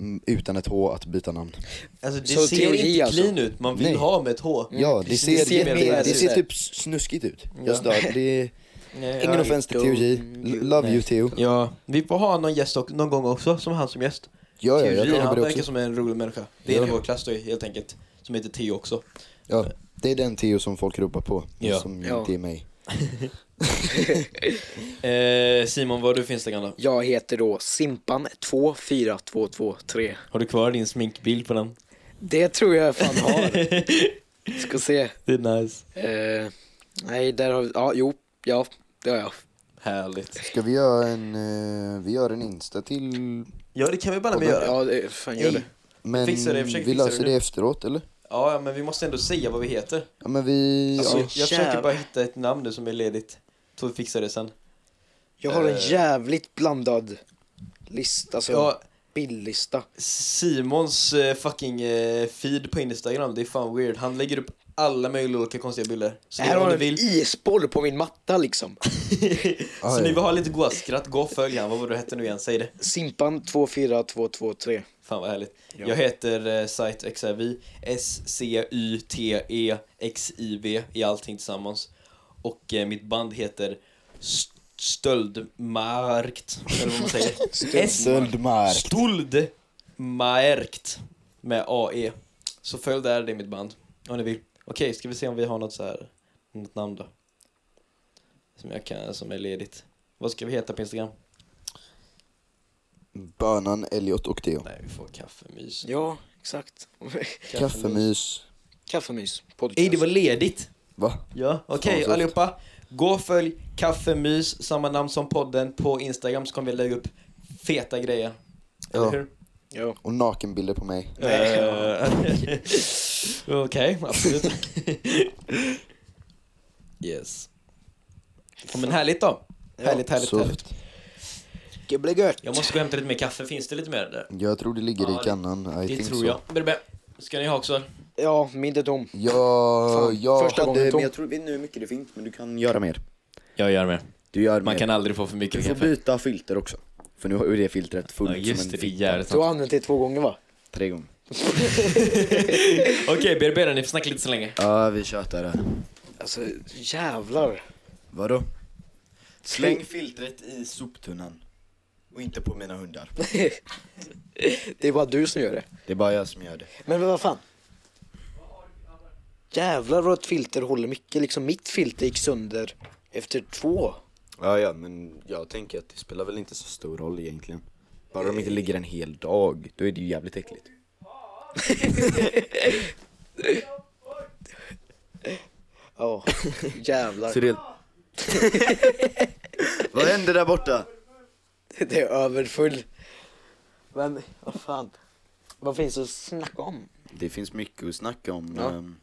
S1: mm, utan ett H att byta namn.
S2: Alltså det
S3: Så
S2: ser
S3: teori
S2: inte
S3: alltså?
S2: clean ut, man vill
S1: Nej.
S2: ha med ett H.
S1: Ja, det ser,
S2: Mm. ser
S1: det,
S2: mer
S1: det,
S2: värdigt
S1: ser
S3: ut.
S1: typ snuskigt ut.
S2: Ja.
S1: Jag stör, det är
S2: Nej,
S1: ingen
S2: ja. Mm.
S1: offens till Teo J. L- Love you Teo.
S2: Ja, vi får ha någon gäst och, någon gång också, som han som gäst.
S1: Ja, ja, jag
S2: Teori,
S1: kan
S2: han
S1: jobba det
S2: Typ verkar
S1: också.
S2: som en rolig människa. Det är
S1: Ja.
S2: en i vår klass då helt enkelt, som heter Theo också.
S1: Ja, det är den Teo som folk ropar på,
S2: Ja.
S1: som
S3: Ja.
S1: inte är mig.
S2: Eh, Simon, vad har du för Instagram då?
S3: Jag heter då Simpan24223.
S2: Har du kvar din sminkbild på den?
S3: Det tror jag fan har. Ska se.
S2: Det är nice.
S3: Eh, nej, där har vi, ja, jo, ja, det har jag.
S2: Härligt.
S1: Ska vi göra en, eh, vi gör en Insta till,
S2: Ja, det kan vi bara med göra.
S3: Ja, det, fan gör det.
S1: men
S2: Fixar det, försök
S1: vi
S2: fixa det
S1: löser
S2: nu.
S1: det, efteråt eller?
S2: Ja, men vi måste ändå säga vad vi heter.
S1: Ja men vi,
S2: Alltså,
S1: ja.
S2: jag försöker bara hitta ett namn nu som är ledigt. Så vi fixar det sen.
S3: Jag har en
S2: Eh.
S3: jävligt blandad lista, alltså
S2: Ja,
S3: bildlista.
S2: Simons eh, fucking eh, feed på Instagram, det är fan weird. Han lägger upp alla möjliga olika konstiga bilder. Så
S3: här
S2: om
S3: har
S2: du
S3: en
S2: vill,
S3: isboll på min matta liksom.
S2: så ni vill ha lite goa skratt, gå och följ han. Vad var det du hette nu igen? Säg det.
S3: Simpan24223.
S2: Fan vad härligt. Jag heter eh, SiteXIV, S-C-Y-T-E-X-I-V E i allting tillsammans. Och eh, mitt band heter St- Stöldmarkt, eller vad man säger. S-
S1: Stöldmark.
S2: Stoldmarkt med AE. Så följ där, det är mitt band. Om ni vill. Okej, ska vi se om vi har något så här, något namn då? Som jag kan, som är ledigt. Vad ska vi heta på Instagram?
S1: Bönan, Elliot och Teo.
S2: Nej, vi får kaffemys.
S3: Ja, exakt.
S1: Kaffemys.
S3: Kaffemys
S2: Ej,
S3: podcast.
S2: det var ledigt!
S1: Va?
S2: Ja, okej
S1: Fan,
S2: allihopa. Gå och följ Kaffemys, samma namn som podden, på Instagram så kommer vi lägga upp feta grejer. Eller
S1: Ja.
S2: hur?
S3: Ja.
S1: Och nakenbilder på mig.
S3: Nej.
S2: Eh, Okej, absolut. yes. Ja, men härligt då. Härligt, härligt, härligt.
S1: Soft.
S3: Det blir gött.
S2: Jag måste gå och hämta lite mer kaffe, finns det lite mer där?
S1: Jag tror det ligger
S2: Ja,
S1: i
S2: det-
S1: kannan, I
S2: det
S1: think
S2: tror
S1: so.
S2: jag. Berbe, ska ni ha också?
S3: Ja, min är tom.
S1: Ja,
S3: Fan,
S1: jag
S3: första gången
S1: hade,
S3: tom.
S1: men jag tror, vet inte hur mycket det finns, men du kan göra mer.
S2: Jag gör med.
S1: Du gör
S2: Man
S1: mer.
S2: kan aldrig få för
S1: Du
S2: mycket
S1: får
S2: kaffe.
S1: byta filter också. För nu är det filtret fullt
S2: Ja, just
S1: som
S2: det,
S1: en
S2: det är
S1: fitta.
S2: jävligt
S3: Du har
S2: sant.
S3: använt det två gånger va?
S1: Tre gånger.
S2: Okej, Berbe, ni får snacka lite så länge.
S1: Ja, vi tjötar här.
S3: Alltså jävlar.
S1: Vadå? Släng filtret i soptunnan. Och inte på mina hundar.
S3: Det är bara du som gör det.
S1: Det är bara jag som gör det.
S3: Men vad fan? Jävlar vad ett filter håller mycket. Liksom mitt filter gick sönder efter två.
S1: Ja, ja, men jag tänker att det spelar väl inte så stor roll egentligen. Bara de inte ligger en hel dag, då är det ju jävligt äckligt.
S3: Ja, jävlar.
S1: Cyril. Vad hände där borta?
S3: Det är överfull. Men vad fan. Vad finns det att snacka om?
S1: Det finns mycket att snacka om.
S3: Ja.
S1: ehm,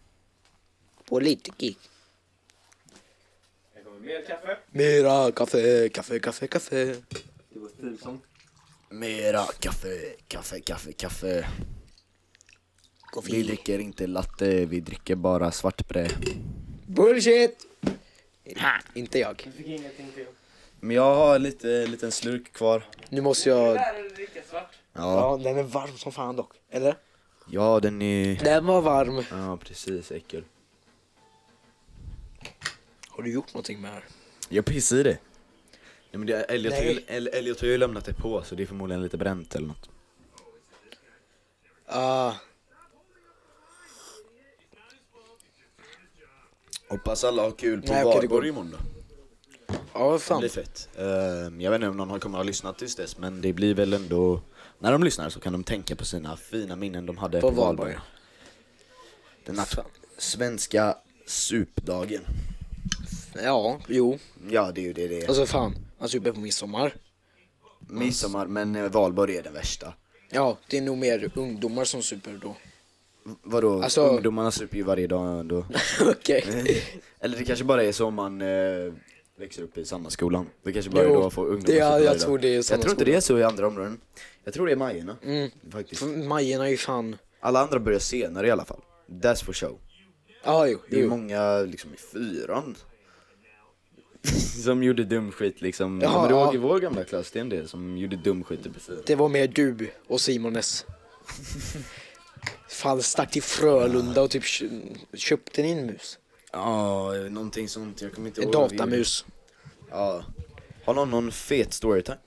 S3: Politik. Mera kaffe, kaffe, kaffe, kaffe.
S1: Mera kaffe, kaffe, kaffe, kaffe. Vi
S3: Koffein.
S1: dricker inte latte, vi dricker bara svartbrä.
S3: Bullshit! Inte jag.
S1: Men jag har lite liten slurk kvar.
S3: Nu måste jag...
S1: Ja,
S3: Ja, den är varm som fan dock. Eller?
S1: ja den är...
S3: Den var varm.
S1: Ja, precis, äckel.
S3: Har du gjort någonting med det här?
S1: Jag pissar i det. Nej, men det är, Elliot, har ju,
S3: Nej.
S1: El- Elliot har ju lämnat det på så det är förmodligen lite bränt eller något.
S3: Ah,
S1: Hoppas alla har kul på
S3: Nej, okej, det går.
S1: Valborg imorgon då.
S3: ja vad
S1: Det
S3: fan.
S1: blir fett. Ehm, jag vet inte om någon har- kommer att ha lyssnat tills dess men det blir väl ändå... När de lyssnar så kan de tänka på sina fina minnen de hade
S3: På
S1: på, Valborg.
S3: Valborg.
S1: Den nat- svenska supdagen.
S3: Ja, jo.
S1: Ja, det är ju det det är.
S3: Alltså fan, man super på midsommar.
S1: Midsommar, men eh, Valborg är den värsta.
S3: Ja, det är nog mer ungdomar som super då.
S1: Vadå?
S3: Alltså-
S1: Ungdomarna super ju varje dag ändå.
S3: Okej.
S1: Eller det kanske bara är så om man eh, växer upp i samma skolan. Det kanske bara
S3: Jo,
S1: är då får ungdomar
S3: det- ja,
S1: super
S3: jag
S1: varje dag.
S3: tror det är
S1: Jag
S3: samma Mm.
S1: tror inte det är så i andra områden. Jag tror det är Majerna. Faktiskt.
S3: Majerna är ju fan...
S1: Alla andra börjar senare i alla fall. That's for show.
S3: Ja, jo.
S1: Det är
S3: jo.
S1: många liksom i fyran. som gjorde dum skit liksom.
S3: Ja,
S1: Ja, men du
S3: ja.
S1: ja. i vår gamla klass, det är en del som gjorde dum skit i fyran.
S3: Det var mer du och Simones. Fan, stack till Frölunda och typ kö- köpte ni en mus?
S1: Ja, någonting sånt. Jag kommer inte
S3: En
S1: ihåg. vad vi gjorde.
S3: datamus.
S1: Ja. Har någon någon fet storytime?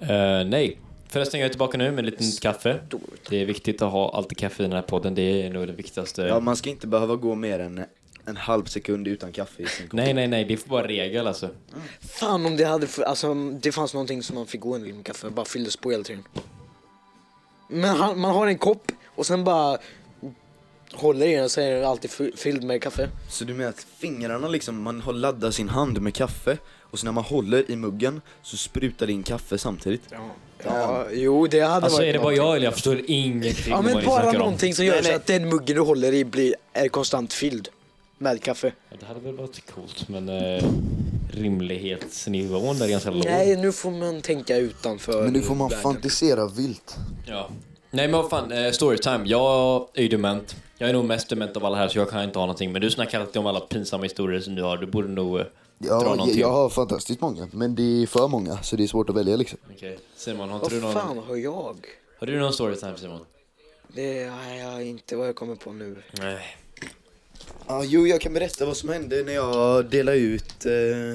S5: Eh, nej. Förresten, jag är tillbaka nu med en liten kaffe. Det är viktigt att ha alltid kaffe i den här podden. Det är nog det viktigaste.
S1: Ja, man ska inte behöva gå mer än en halv sekund utan kaffe i sin kopp.
S5: Nej, nej, nej. Det får vara regel alltså.
S3: Fan om det hade, f- alltså det fanns någonting som man fick gå en med kaffe, bara fylldes på hela tiden. Men han, man har en kopp och sen bara håller i den och så är den alltid fy- fylld med kaffe.
S1: Så du menar att fingrarna liksom, man har laddat sin hand med kaffe och så när man håller i muggen så sprutar det in kaffe samtidigt?
S3: Ja, jo det hade
S5: Alltså
S3: varit
S5: är det bara
S3: någonting.
S5: jag eller jag förstår ingenting
S3: Ja
S5: om vad
S3: men
S5: ni
S3: bara
S5: snackar om.
S3: någonting som gör
S1: Nej,
S3: så
S1: nej.
S3: att den muggen du håller i blir, är konstant fylld med kaffe.
S5: Ja, Det hade väl varit coolt men eh, rimlighetsnivån där är ganska låg.
S3: Nej nu får man tänka utanför världen.
S1: fantisera vilt.
S5: Ja. Nej men vad fan, eh, storytime. Jag är ju dement. Jag är nog mest dement av alla här så jag kan inte ha någonting. Men du snackar alltid om alla pinsamma historier som du har. Du borde nog eh, dra någon till.
S1: har fantastiskt många, men det är för många så det är svårt att välja liksom.
S5: Okej. Simon, har inte du
S3: Vad
S5: någon,
S3: fan har jag?
S5: har du någon storytime Simon?
S3: Det har jag inte vad jag kommer på nu.
S5: Nej.
S1: Ja, jo, jag kan berätta vad som hände när jag delade ut eh,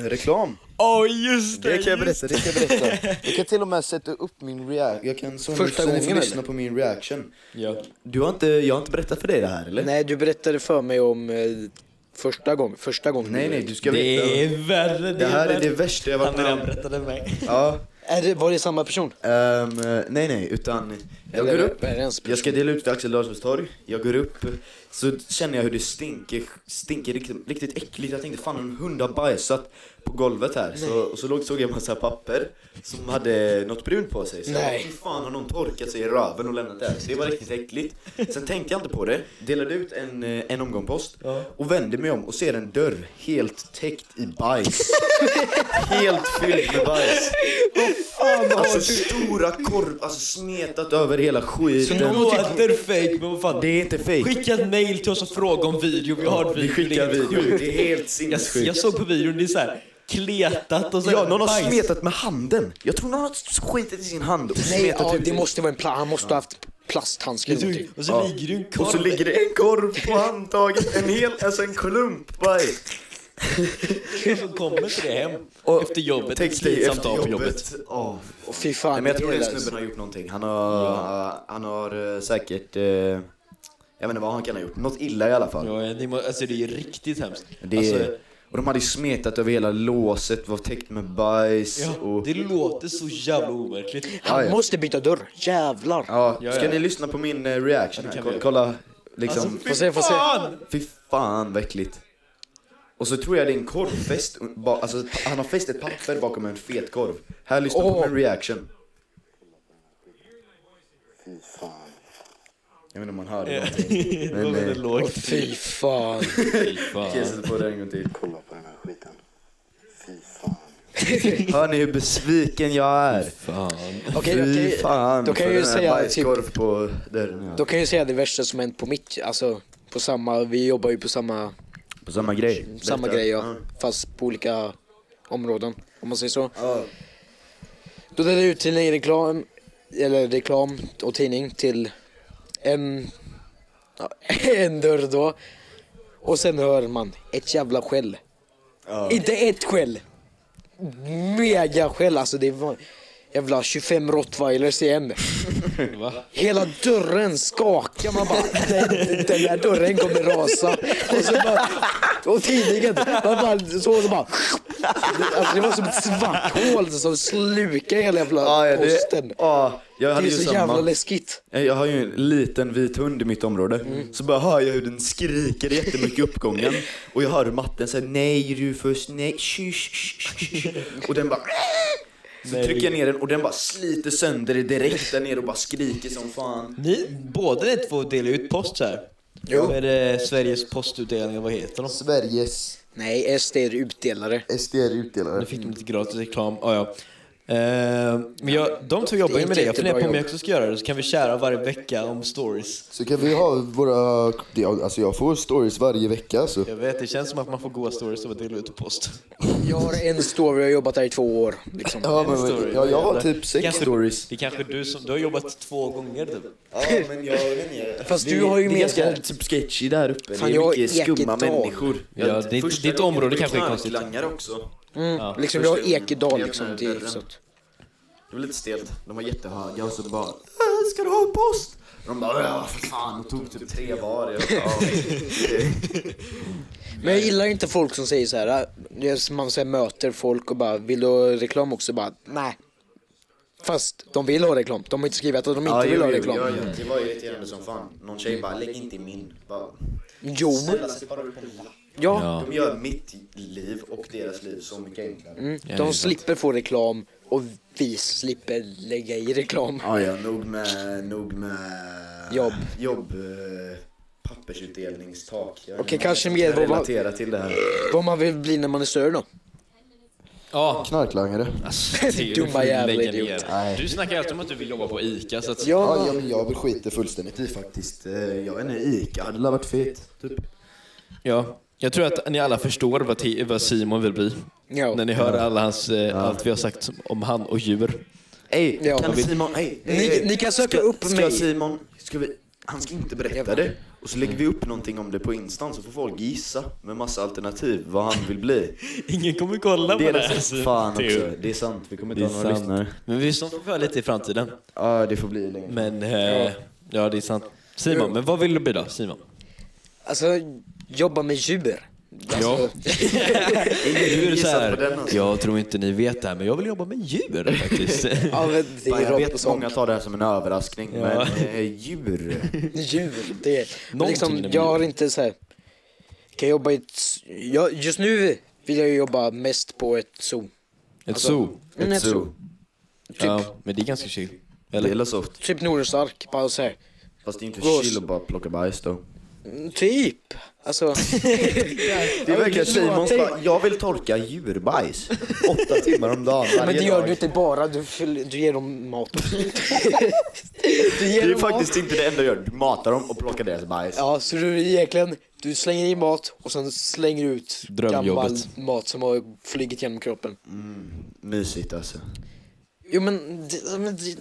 S1: reklam.
S5: Åh just
S1: Det kan jag berätta, det kan jag berätta. Jag kan till och med sätta upp min reaction. Jag kan så
S3: Första
S1: så ni får
S3: gången,
S1: lyssna
S3: eller?
S1: på min reaction.
S5: Ja.
S1: Du har inte, jag har inte berättat för dig det här eller?
S3: Nej du berättade för mig om eh, första gången, första gången.
S1: nej,
S3: du-
S1: nej du ska veta.
S5: Det är värre.
S1: Det här är det
S5: värre.
S1: värsta jag
S5: Han
S1: varit med
S5: redan
S1: om.
S5: berättade mig.
S1: Ja,
S3: Är det, var det samma person?
S1: ehm, nej nej, utan jag
S3: Eller
S1: går upp,
S3: är det ens person?
S1: jag ska dela ut vid Axel Larssons torg, jag går upp, så känner jag hur det stinker, stinker riktigt, riktigt äckligt. Jag tänkte fan en hund har bajsat på golvet här. Så, och så låg, såg jag en massa papper som hade något brunt på sig. Så jag,
S3: Nej.
S1: "Fy fan har någon torkat sig i röven och lämnat det här? Så det var riktigt äckligt. Sen tänkte jag inte på det, delade ut en, eh, en omgång post och vände mig om och ser en dörr helt täckt i bajs. helt fylld med bajs. Alltså stora korv, alltså smetat över hela skiten.
S2: Återfake, men vad fan.
S1: Det är inte fejk.
S2: Skicka ett mail till oss och fråga om video. Vi har ett
S1: Vi
S2: video.
S1: skickar
S2: Det är helt
S1: video,
S2: sjukt.
S1: det är helt
S2: Jag,
S1: sinnessjukt.
S2: jag såg på videon, det är såhär kletat och så
S1: Ja, någon har
S2: bajs.
S1: smetat med handen. Jag tror någon har skitit i sin hand och
S3: Nej,
S1: smetat typ-
S3: ja,
S1: ut
S3: det måste vara en pla- han måste ha haft plasthandske eller
S1: typ-
S3: någonting.
S2: Och så ligger du i en korv.
S1: Och så ligger det en korv på handtaget, en hel, alltså en klump bajs.
S2: Kommer inte det hem?
S1: Och-
S2: efter jobbet, ett
S1: Tänk dig
S2: slitsamt dag på jobbet.
S1: Åh.
S3: Och fy fan,
S1: Nej, men jag tror den
S3: det
S1: snubben har gjort någonting. Han har, han har eh, säkert, eh, jag vet inte vad han kan ha gjort. Något illa i alla fall.
S2: Ja, det, må- alltså det är ju riktigt hemskt.
S1: Det,
S2: alltså,
S1: och de hade ju smetat över hela låset, var täckt med bajs
S2: ja,
S1: och...
S2: det låter så jävla overkligt.
S1: Ja,
S3: Han
S1: ja.
S3: måste byta dörr, jävlar.
S1: Ja,
S2: Ja,
S1: ska
S2: ja.
S1: ni lyssna på min eh, reaction
S2: Ja, det
S1: här?
S2: kan
S1: Kolla,
S2: vi
S1: kolla liksom,
S2: Alltså,
S3: Får se, får se.
S2: fan!
S1: fy fan vad äckligt. Och så tror jag det är en korvfest, ba, alltså han har fäst ett papper bakom en fetkorv. Här lyssnar på
S3: Åh.
S1: min reaction.
S4: Fy fan.
S1: Jag vet inte om man hörde någonting. eh,
S2: Det var väldigt lågt.
S3: Fy fan.
S1: Okej, jag sätter på det en gång till.
S4: Kolla på den här skiten. Fy fan.
S1: Hör ni hur besviken jag är?
S3: Okej,
S1: Fy
S3: okej.
S1: fan
S3: Då kan
S1: för
S3: jag ju
S1: den här
S3: säga typ,
S1: bajskorv på dörren. Ja.
S3: då kan jag ju säga det värsta som hänt på mitt, alltså på samma, vi jobbar ju på samma,
S1: På samma grej.
S3: samma
S1: Detta.
S3: grej ja. Fast på olika områden, om man säger så.
S1: Ja.
S3: Då delade jag ut tidningsreklam, eller reklam och tidning till en, ja, en dörr då. Och sen hör man ett jävla skäll. Inte ett skäll. Mega skäll alltså. Det var jävla 25 rottweilers igen.
S5: Va?
S3: Hela dörren skakar. Man bara, den, den där dörren kommer rasa. Och, så bara, och tidningen, man bara, så, så bara. Alltså det var som ett svart hål som slukade hela jävla
S1: Ja, ja,
S3: posten.
S1: det, ja, jag
S3: det
S1: hade
S3: är
S1: ju
S3: så
S1: samma.
S3: jävla läskigt.
S1: Nej, Eh, Jag har ju en liten vit hund i mitt område. Så bara hör jag hur den skriker jättemycket i uppgången. Och jag hör hur matten säger nej Rufus, nej, tjus, Och den bara "Äh!" Så trycker jag ner den och den bara sliter sönder det direkt där nere och bara skriker som fan.
S2: Ni, båda ni två delar ut post så här.
S1: Jo.
S2: Är det Sveriges postutdelningar, vad heter de?
S1: Sveriges
S3: Nej, SD är utdelare.
S1: SDR-utdelare.
S2: Nu fick de lite gratis reklam. Ah, ja. Eh, men jag, de två jobbar ju med det. Jag funderar på om jag också ska göra det. Så kan vi kära varje vecka om stories.
S6: Så kan vi ha våra... det- Alltså jag får stories varje vecka alltså.
S2: Jag vet, det känns som att man får goa stories av att dela ut post.
S3: Jag har en story, jag har jobbat där i två år. Liksom.
S6: Ja, men,
S2: Story.
S6: ja jag har typ sex
S2: Kanske-
S6: stories.
S2: Det är kanske du som... Du har jobbat två gånger typ.
S1: Ja men jag vet inte.
S3: Fast du har ju
S1: det är
S3: mer-
S1: ganska typ sketchy där uppe.
S3: Fan,
S1: det
S3: jag
S1: är
S3: har
S1: mycket skumma
S3: Ekedal.
S1: människor.
S2: Ja, ditt-
S1: Första
S2: ditt
S1: gången
S2: område
S1: var det
S2: kanske är konstigt.
S1: knarklangare också.
S3: liksom, jag
S1: första
S3: har
S1: gången
S3: Ekedal
S1: jag
S3: liksom.
S1: öppnade
S3: Det är
S1: dörren.
S3: så att-
S1: Det var lite stelt. De var jättehöga och så bara "Äh, Ska du ha en post? De bara ja för fan och tog typ tre var. Jag bara, "Ja."
S3: Men jag gillar inte folk som säger så här. äh, det är som Man så här, möter folk och bara, vill du ha reklam också? Bara, nej. Fast de vill ha reklam. De har inte skrivit att de inte
S1: Ja,
S3: vill
S1: jo,
S3: ha
S1: jo,
S3: reklam.
S1: jo, jo. Det var irriterande som fan. Någon tjej bara lägg inte i min. Bara,
S3: Jo.
S1: "Snälla, spara upp en lapp."
S3: Ja.
S1: De gör mitt liv och deras liv så mycket enklare.
S5: det är
S3: Mm. De
S5: sant.
S3: slipper få reklam och vi slipper lägga i reklam.
S1: Ja, ja, nog med, nog med
S3: Jobb.
S1: jobb eh, pappersutdelningstak. Jag vet
S3: Okej,
S1: inte.
S3: kanske mer
S1: Jag
S3: vad man-
S1: relatera till det här.
S3: Vad man vill bli när man är större då.
S5: Ja,
S6: Knarklangare.
S5: alltså, det är ju
S3: Dumma
S5: för
S3: jävla
S5: lägga
S3: idiot.
S5: ner.
S6: Nej.
S5: Du snackar ju alltid om att du vill jobba på ICA, så att...
S6: Ja,
S3: Ja,
S6: ja men jag skiter fullständigt i
S1: Visst,
S6: faktiskt.
S1: eh, jag vet inte, Ica hade väl varit fet. Typ.
S2: Ja. Jag tror att ni alla förstår vad, Ti- vad Simon vill bli.
S3: ja.
S2: När ni hör alla hans, eh, allt vi har sagt som- om han och djur.
S1: Ey,
S3: Ja.
S1: kan
S3: Jag vill-
S1: Simon, ey,
S3: Ni-
S1: ey,
S3: ni kan söka
S1: ska,
S3: upp
S1: ska
S3: mig.
S1: Simon, ska vi, han ska inte berätta det. Och så lägger vi upp någonting om det på Instan så får folk gissa med massa alternativ vad han vill bli.
S2: Ingen kommer kolla på
S1: Det är
S2: det.
S1: det. Fan också, det är sant. Vi kommer
S2: Det
S1: inte
S2: är
S1: ha några lyssnare.
S2: sant. Men vi sånt får vi ha lite i framtiden.
S1: Ja, det får bli länge.
S2: Men eh, ja, det är sant. Simon, men vad vill du bli då? Simon?
S3: Alltså, jobba med djur. Alltså,
S2: Djur så
S1: Gissat på
S2: här,
S1: den, alltså.
S2: jag tror inte ni vet det här, men jag vill jobba med djur faktiskt.
S3: ja, men det
S1: Fan,
S3: är
S1: jag
S3: rakt på
S1: vet
S3: sak.
S1: många tar det här som en överraskning, men eh, djur.
S3: Djur, det är... Men
S2: Någonting
S3: Liksom,
S2: inom
S3: jag
S2: djur.
S3: har inte så här... Kan jag jobba i ett... s- Jag, just nu vill jag ju jobba mest på ett zoo.
S2: Ett zoo.
S3: Mm, ett zoo. Typ,
S2: Ja, men det är ganska chill.
S1: Det
S2: Eller?
S1: är soft.
S3: typ Nordens ark, bara så här.
S1: Fast det är inte
S3: Gås.
S1: chill att bara plocka bajs då.
S3: Mm, Typ. Alltså,
S1: Det är verkligen
S3: det är så.
S1: Simons bara, jag vill torka djurbajs. Åtta timmar om dagen
S3: men det
S1: varje
S3: gör
S1: dag.
S3: du inte bara, du, fyller, du ger dem mat. du
S1: Det
S3: ger
S1: är ju
S3: dem
S1: faktiskt
S3: mat.
S1: inte det enda du gör, du matar dem och plockar deras bajs.
S3: Ja, så du egentligen, du slänger i mat och sen slänger du ut gammal
S2: Drömjobbet.
S3: mat som har flugit genom kroppen.
S1: Mysigt alltså.
S3: Jo men, det, men det,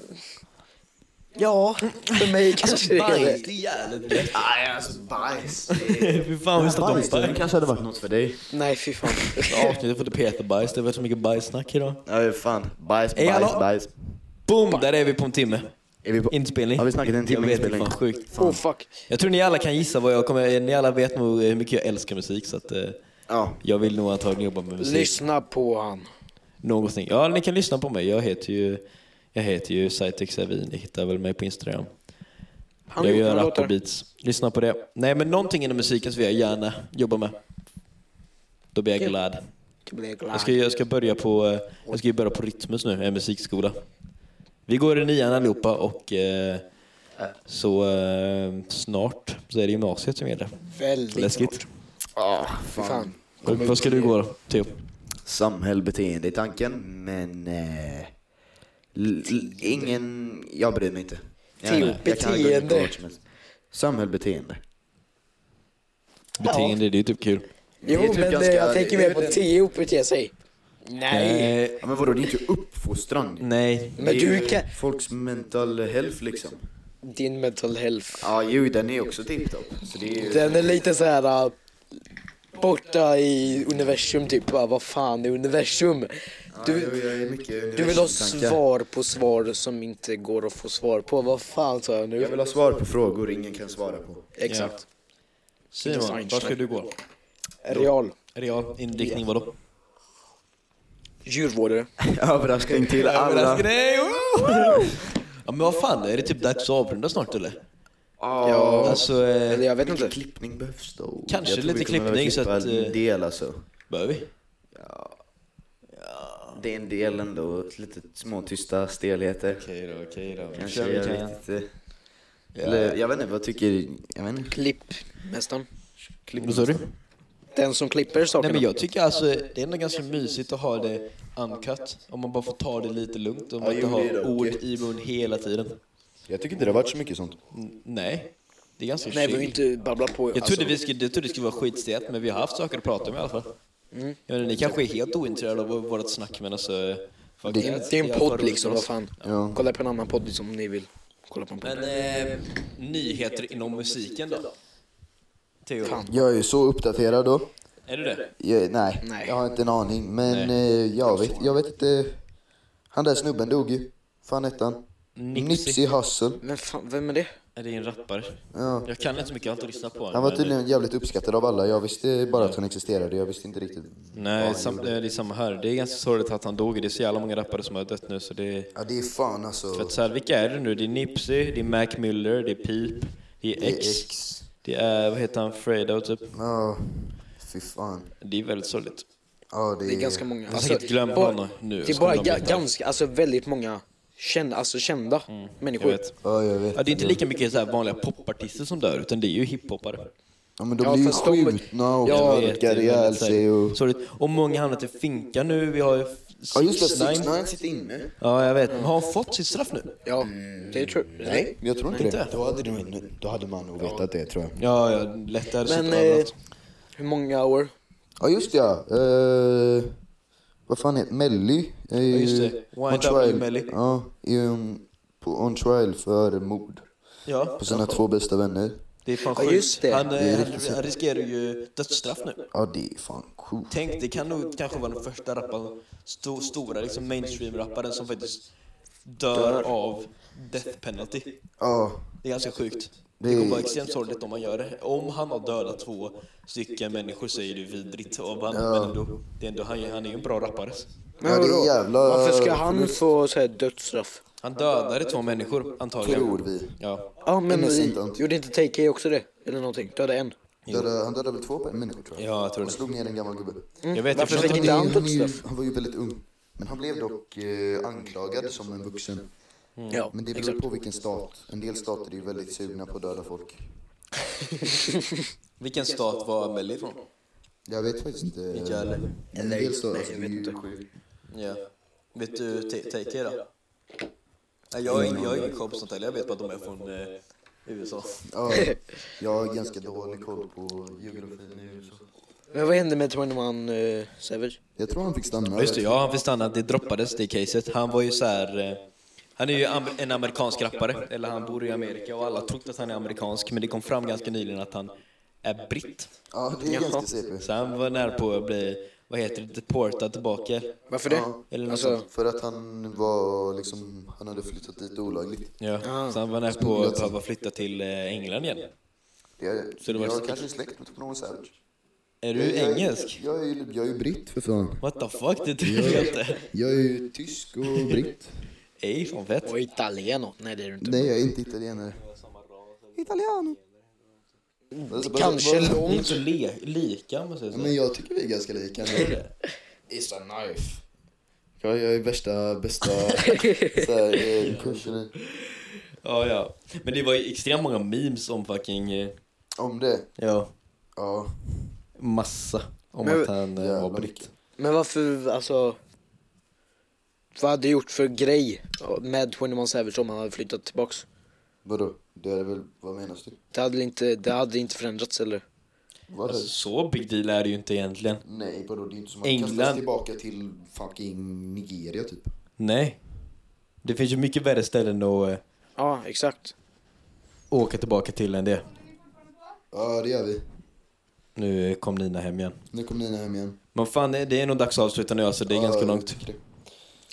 S3: Ja, för mig
S2: Alltså
S3: kanske det är
S2: bajs,
S3: det.
S2: det är jävligt gött.
S1: Nej, alltså bajs.
S2: Fy fan vi snackar om
S1: Det
S2: bajs.
S1: kanske hade varit något för dig.
S3: Nej, fy fan.
S2: Avsnittet får du peta bajs, det har varit så mycket bajssnack idag.
S1: Ja, fan. Bajs,
S2: Hej,
S1: bajs,
S2: hallå?
S1: bajs.
S2: Boom! Där är vi på en timme.
S1: Är vi på...
S2: Inspelning.
S1: Har vi snackat en timme
S2: Jag vet, det är
S1: inspelning?
S2: fan sjukt.
S3: Oh fuck.
S2: Jag tror ni alla kan gissa vad jag kommer... Ni alla vet nog hur mycket jag älskar musik så att... Eh,
S1: Ja.
S2: jag vill nog antagligen jobba med musik.
S3: Lyssna på han.
S2: Någonting. Ja, ni kan lyssna på mig. Jag heter ju... Jag heter ju Saitex Avin. Ni hittar väl mig på Instagram.
S3: Han
S2: jag
S3: har gjort
S2: gör
S3: några
S2: rap och
S3: låtar.
S2: beats. Lyssna på det. Nej, men någonting inom musiken som jag gärna jobbar med. Då blir jag glad.
S3: Jag blir glad.
S2: Jag ska, jag ska börja på, eh, jag ska ju börja på Rytmus nu, en musikskola. Vi går i nian allihopa och eh, så eh, snart så är det gymnasiet som gäller.
S3: Väldigt
S2: Läskigt.
S3: Fy fan.
S2: Och, vad ska du gå då, Theo?
S1: Samhällsbeteende i tanken, men... Eh, l- l- ingen... Jag bryr mig inte. Jag,
S3: Till
S1: jag kan gå in på
S3: beteende.
S1: vad som helst. Samhällsbeteende.
S2: Beteende, det är ju typ kul.
S3: Jo,
S1: Det är typ
S3: men
S1: ganska-
S3: eh, jag tänker mer på
S1: det är-
S3: tio uppbete sig. Nej.
S2: Eh,
S1: Ja, men vadå, det är inte uppfostran.
S2: nej.
S1: Det är
S3: Men
S1: ju
S3: du kan...
S1: Folks mental health liksom.
S3: Din mental health.
S1: Ja, ju den är också tipptopp. Så det är ju...
S3: Den är lite så här äh, borta i universum typ. Bara, vad fan är universum?
S1: Ja,
S3: Du,
S1: jag är mycket
S3: du vill ha
S1: universumtankar.
S3: svar på svar som inte går att få svar på. Vad fan sa jag nu?
S1: Jag vill ha svar på frågor ingen kan svara på.
S3: Exakt.
S2: Simon, vad ska du gå?
S3: Real.
S2: Real inriktning vadå?
S3: Djurvårdare.
S2: Eh,
S1: Överraskning till alla.
S2: Överraskning! woo! Ja men vad fan, är det typ dags att avrunda snart eller?
S1: Ja,
S2: Alltså, eh,
S3: Eller jag vet inte.
S1: mycket klippning behövs då.
S2: Kanske
S1: Jag tror
S2: lite
S1: vi kommer
S2: klippning,
S1: behöva
S2: så att,
S1: klippa
S2: eh,
S1: En del alltså.
S2: behöver vi?
S1: Det är en del ändå, lite små tysta stelheter.
S2: Okej då, okej då.
S1: Kanske, jag vet inte. Eller, jag vet inte, vad tycker, jag vet inte.
S3: Klipp. Nästan.
S2: Vad sa du?
S3: Den som klipper
S2: Nej,
S3: sakerna.
S2: men jag tycker alltså det är ändå ganska mysigt att ha det uncut. Om man bara får ta det lite lugnt och man inte
S1: jo, det är
S2: har
S1: det.
S2: ord i mun hela tiden.
S6: Jag tycker inte det har varit så mycket sånt.
S2: N- Nej, det är ganska
S3: Nej, vi
S2: chill.
S3: vill inte babbla på. Alltså,
S2: Jag trodde, vi skulle, jag trodde det skulle vara skitstelt, men vi har haft saker att prata om i alla fall.
S3: Mm.
S2: Jag menar, ni kanske är helt ointresserade av vårt snack, men alltså... fuck
S3: Det är,
S2: it.
S3: det är en
S2: Jag
S3: podd
S2: förordar
S3: liksom, vad
S2: oss.
S3: fan.
S6: Ja.
S3: Kolla på en annan podd liksom, om ni vill. Kolla på en podd.
S2: Men eh, nyheter inom musiken då? Theo,
S6: Jag är ju så uppdaterad då.
S2: är du det?
S6: Jag, nej,
S3: Nej.
S6: jag har inte en aning. Men eh, jag, vet, jag vet inte. Han där snubben dog ju. Fan hette han?
S2: Nipsey.
S6: Nipsey Hussle.
S3: Men fan, vem är det?
S2: Är det en rappare?
S6: Ja.
S2: Jag kan inte så mycket, jag har inte lyssnat på honom.
S6: Han var
S2: men-
S3: typ
S6: tydligen jävligt uppskattad av alla. Jag visste bara att han existerade. Jag visste inte riktigt.
S2: Nej, sam, eh, det är samma här. Det är ganska sorgligt att han dog. Det är så jävla många rappare som har dött nu så det är...
S6: Ja, det är fan alltså.
S2: För att så här, vilka är det nu? Det är Nipsey, det är Mac Miller, det är Peep, det är X,
S6: X.
S2: det är, vad heter han, Fredo typ.
S6: Ja, fy fan.
S2: Det är väldigt sorgligt.
S6: Ja, det,
S3: Det är ganska många. Alltså,
S2: Jag har säkert glömt
S3: bara-
S2: honom nu.
S3: Det är
S2: skulle
S3: bara
S2: de
S3: ga-
S2: veta.
S3: ganska, alltså väldigt många kända, alltså kända
S2: Mm. Jag
S3: människor.
S2: vet.
S6: Ja, jag vet.
S2: Ja, det är inte lika mycket så här vanliga popartister som dör, utan det är ju hiphoppare.
S6: Ja, men de
S3: Ja,
S6: blir ju
S3: fast de-
S6: skjutna och
S3: Ja,
S2: Jag vet, det är
S6: knarkar
S2: väldigt
S6: ihjäl
S2: så här
S6: sig och...
S2: Sorgligt. Och många hamnat i finka nu. Vi har ju...
S6: Ja, just det.
S2: 6ix9ine.
S6: 6ix9ine.
S1: sitter inne.
S2: Ja, jag vet. Men har han fått sitt straff nu?
S3: Ja, det tror
S2: Mm.
S6: Nej, jag tror inte
S2: Inte?
S6: det. Då hade, du, då hade man nog vetat det, tror jag.
S2: Ja, ja. Lätt där
S3: Men
S2: sitter
S3: eh,
S2: överallt.
S3: hur många år?
S6: Ja just det, ja. Eh, vad fan heter Melly? är ju
S2: just det.
S6: On
S2: YNW
S6: trial.
S2: Melly.
S6: Ja, är ju på on trial för mord
S2: Ja.
S6: på sina två bästa vänner.
S2: Det är fan
S3: Ja,
S2: sjukt.
S3: just det.
S2: Han, eh,
S6: Det är
S2: han,
S6: riktigt synd.
S2: han riskerar ju dödsstraff nu.
S6: Ja det är fan sjukt.
S2: Tänk, det kan nog kanske vara den första rapparen, sto, stora liksom mainstream-rapparen som faktiskt dör av death penalty.
S6: Ja,
S2: Det är ganska sjukt.
S6: Det
S2: Det
S6: är-
S2: kommer vara extremt sorgligt om man gör det. Om han har dödat två stycken människor så är det ju vidrigt. Och han,
S6: Ja.
S2: men ändå, det är ändå, han, är- han är ju en bra rappare.
S6: Ja, det är
S3: vadå?
S6: jävla
S3: Varför ska han
S6: förlust.
S3: få så här, dödsstraff?
S2: Han dödade två människor antagligen.
S6: tror vi.
S2: Ja.
S3: Ja, men
S6: Innocent,
S3: i-
S6: antar
S3: gjorde inte Take-A också det? Eller någonting? Du hade en.
S6: Dödade, han dödade väl två på en minut tror jag.
S2: Ja, jag tror
S6: Och
S2: det.
S6: slog ner en gammal gubbe.
S2: Jag vet, jag
S3: Varför
S2: tror
S3: fick
S2: inte
S3: inte
S6: är-
S3: han
S6: han, är ju,
S3: dödsstraff?
S6: han var ju väldigt ung. Men han blev dock eh, anklagad som en vuxen.
S3: Ja,
S6: Men det beror på vilken stat. En del stater är ju väldigt sugna på att döda folk.
S2: Vilken stat var Melly ifrån?
S6: Jag vet faktiskt inte.
S2: Inte jag heller.
S6: En del stater, alltså, det är ju
S2: Ja. Vet du Ta- Take då? Mm. Nej, jag har ingen- jag har ingen koll på sånt heller. Jag vet bara att de är från eh, USA.
S6: Ja, jag har ganska dålig koll på geografin i USA.
S3: Men vad hände med 21 uh, Savage?
S6: Jag tror han fick stanna.
S2: Ja, just det, ja han fick stanna. Det droppades det caset. Han var ju så här... eh, Han är ju am- en amerikansk rappare, eller han bor i Amerika och alla har trott att han är amerikansk, men det kom fram ganska nyligen att han är britt.
S6: Ja, det är ganska CP.
S2: Så han var nära på att bli, vad heter det, deportad tillbaka.
S3: Varför det?
S6: Ja,
S2: eller något
S3: alltså,
S6: För att han var liksom, han hade flyttat dit olagligt.
S2: Ja. Så han var nära på att behöva flytta till eh, England igen.
S6: Det är,
S2: Så det var
S6: jag
S2: säkert-
S6: kanske är släkt med Noel Savage.
S2: Är du engelsk?
S6: Jag, jag, jag, jag är ju britt för fan.
S2: What the fuck, det trodde jag inte.
S6: Jag är ju tysk och britt.
S2: Ej, fan fett.
S3: och italieno. Nej det är du inte.
S6: Nej, jag är inte italienare. Italiano. Alltså, bara-
S3: Kanske
S6: bara-
S2: Ni är
S3: långt.
S2: inte le- lika om man säger
S6: Ja,
S2: så.
S6: Men jag tycker vi är ganska lika. ändå.
S3: It's a knife.
S6: Jag, jag är värsta, bästa eh, kursen
S2: Ja, ja. Men det var ju extremt många memes om fucking... eh,
S6: om det.
S2: Ja,
S6: Ja,
S2: massa. Om
S3: Men-
S2: att han eh, var
S6: jävla
S2: britt.
S6: mycket.
S3: Men varför, alltså. Vad hade du gjort för grej med 21 Savage om han hade flyttat tillbaks?
S6: Vadå? Det är väl, vad menas du?
S3: Det hade inte, det hade inte förändrats eller?
S6: Vad är det?
S2: Alltså, så big deal är det ju inte egentligen.
S6: Nej, vadå? Det är inte som att
S2: England.
S6: kastas tillbaka till fucking Nigeria typ.
S2: Nej. Det finns ju mycket värre ställen att eh,
S3: Ja, exakt.
S2: åka tillbaka till än det.
S6: Ja, det gör vi.
S2: Nu kom Nina hem igen.
S6: Nu kommer Nina hem igen.
S2: Men fan, eh, det är nog dags att avsluta nu alltså. Det är
S6: Ja,
S2: ganska
S6: jag
S2: långt.
S6: tycker det.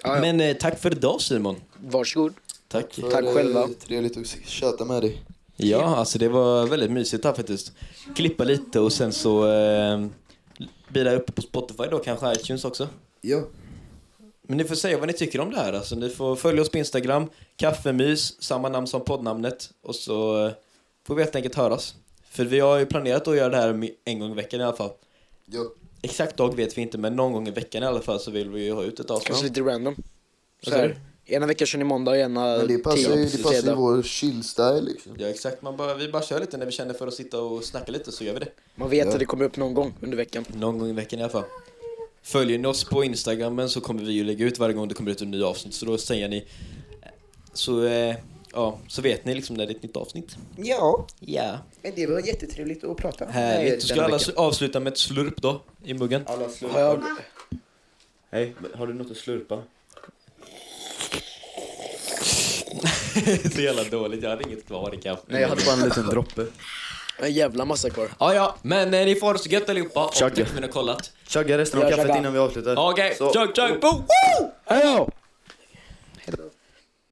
S3: Ja, ja.
S2: Men eh, tack för idag Simon.
S3: Varsågod.
S2: Tack.
S6: För,
S3: Tack
S6: eh,
S3: själva.
S6: Trevligt att köta med dig.
S2: Ja, alltså det var väldigt mysigt här faktiskt. Klippa lite och sen så eh, blir det uppe på Spotify då, kanske iTunes också.
S6: Ja.
S2: Men ni får säga vad ni tycker om det här. Alltså, ni får följa oss på Instagram, kaffemys, samma namn som poddnamnet. Och så eh, får vi helt enkelt höras. För vi har ju planerat att göra det här mi- en gång i veckan i alla fall.
S6: Ja.
S2: Exakt dag vet vi inte, men någon gång i veckan i alla fall så vill vi ju ha ut ett
S3: Kanske
S2: avsnitt.
S3: lite random. Så
S2: sa
S3: här. Ena veckan kör ni måndag och ena
S6: Men det passar ju, det passar ju vår chill-style liksom.
S2: Ja exakt, man bara, vi bara kör lite när vi känner för att sitta och snacka lite så gör vi det.
S3: Man vet
S6: Ja.
S3: att det kommer upp någon gång under veckan.
S2: Någon gång i veckan i alla fall. Följer ni oss på Instagrammen så kommer vi ju lägga ut varje gång det kommer ut en ny avsnitt. Så då säger ni... Så, eh, ja, så vet ni liksom när det är ett nytt avsnitt.
S7: Ja,
S2: Ja.
S7: men det var jättetrevligt att prata.
S2: Härligt. Så ska
S7: Denna
S2: alla
S7: veckan.
S2: slu- avsluta med ett slurp då, i muggen.
S3: Har jag,
S8: Hej, har du något att slurpa?
S2: så jävla dåligt, jag hade inget kvar i kaffet.
S8: Nej, jag hade bara en liten droppe.
S3: en jävla massa kvar.
S2: Ja, ja, men eh, ni får ha det så gött allihopa. Och
S8: Tjugga.
S2: tack för att ni har kollat.
S8: Chugga resten av
S3: Jag
S8: kaffet
S3: chuggar.
S8: innan vi avslutar.
S2: Okej,
S8: Så-
S2: chug chug, boo! Woo!
S3: Hej då!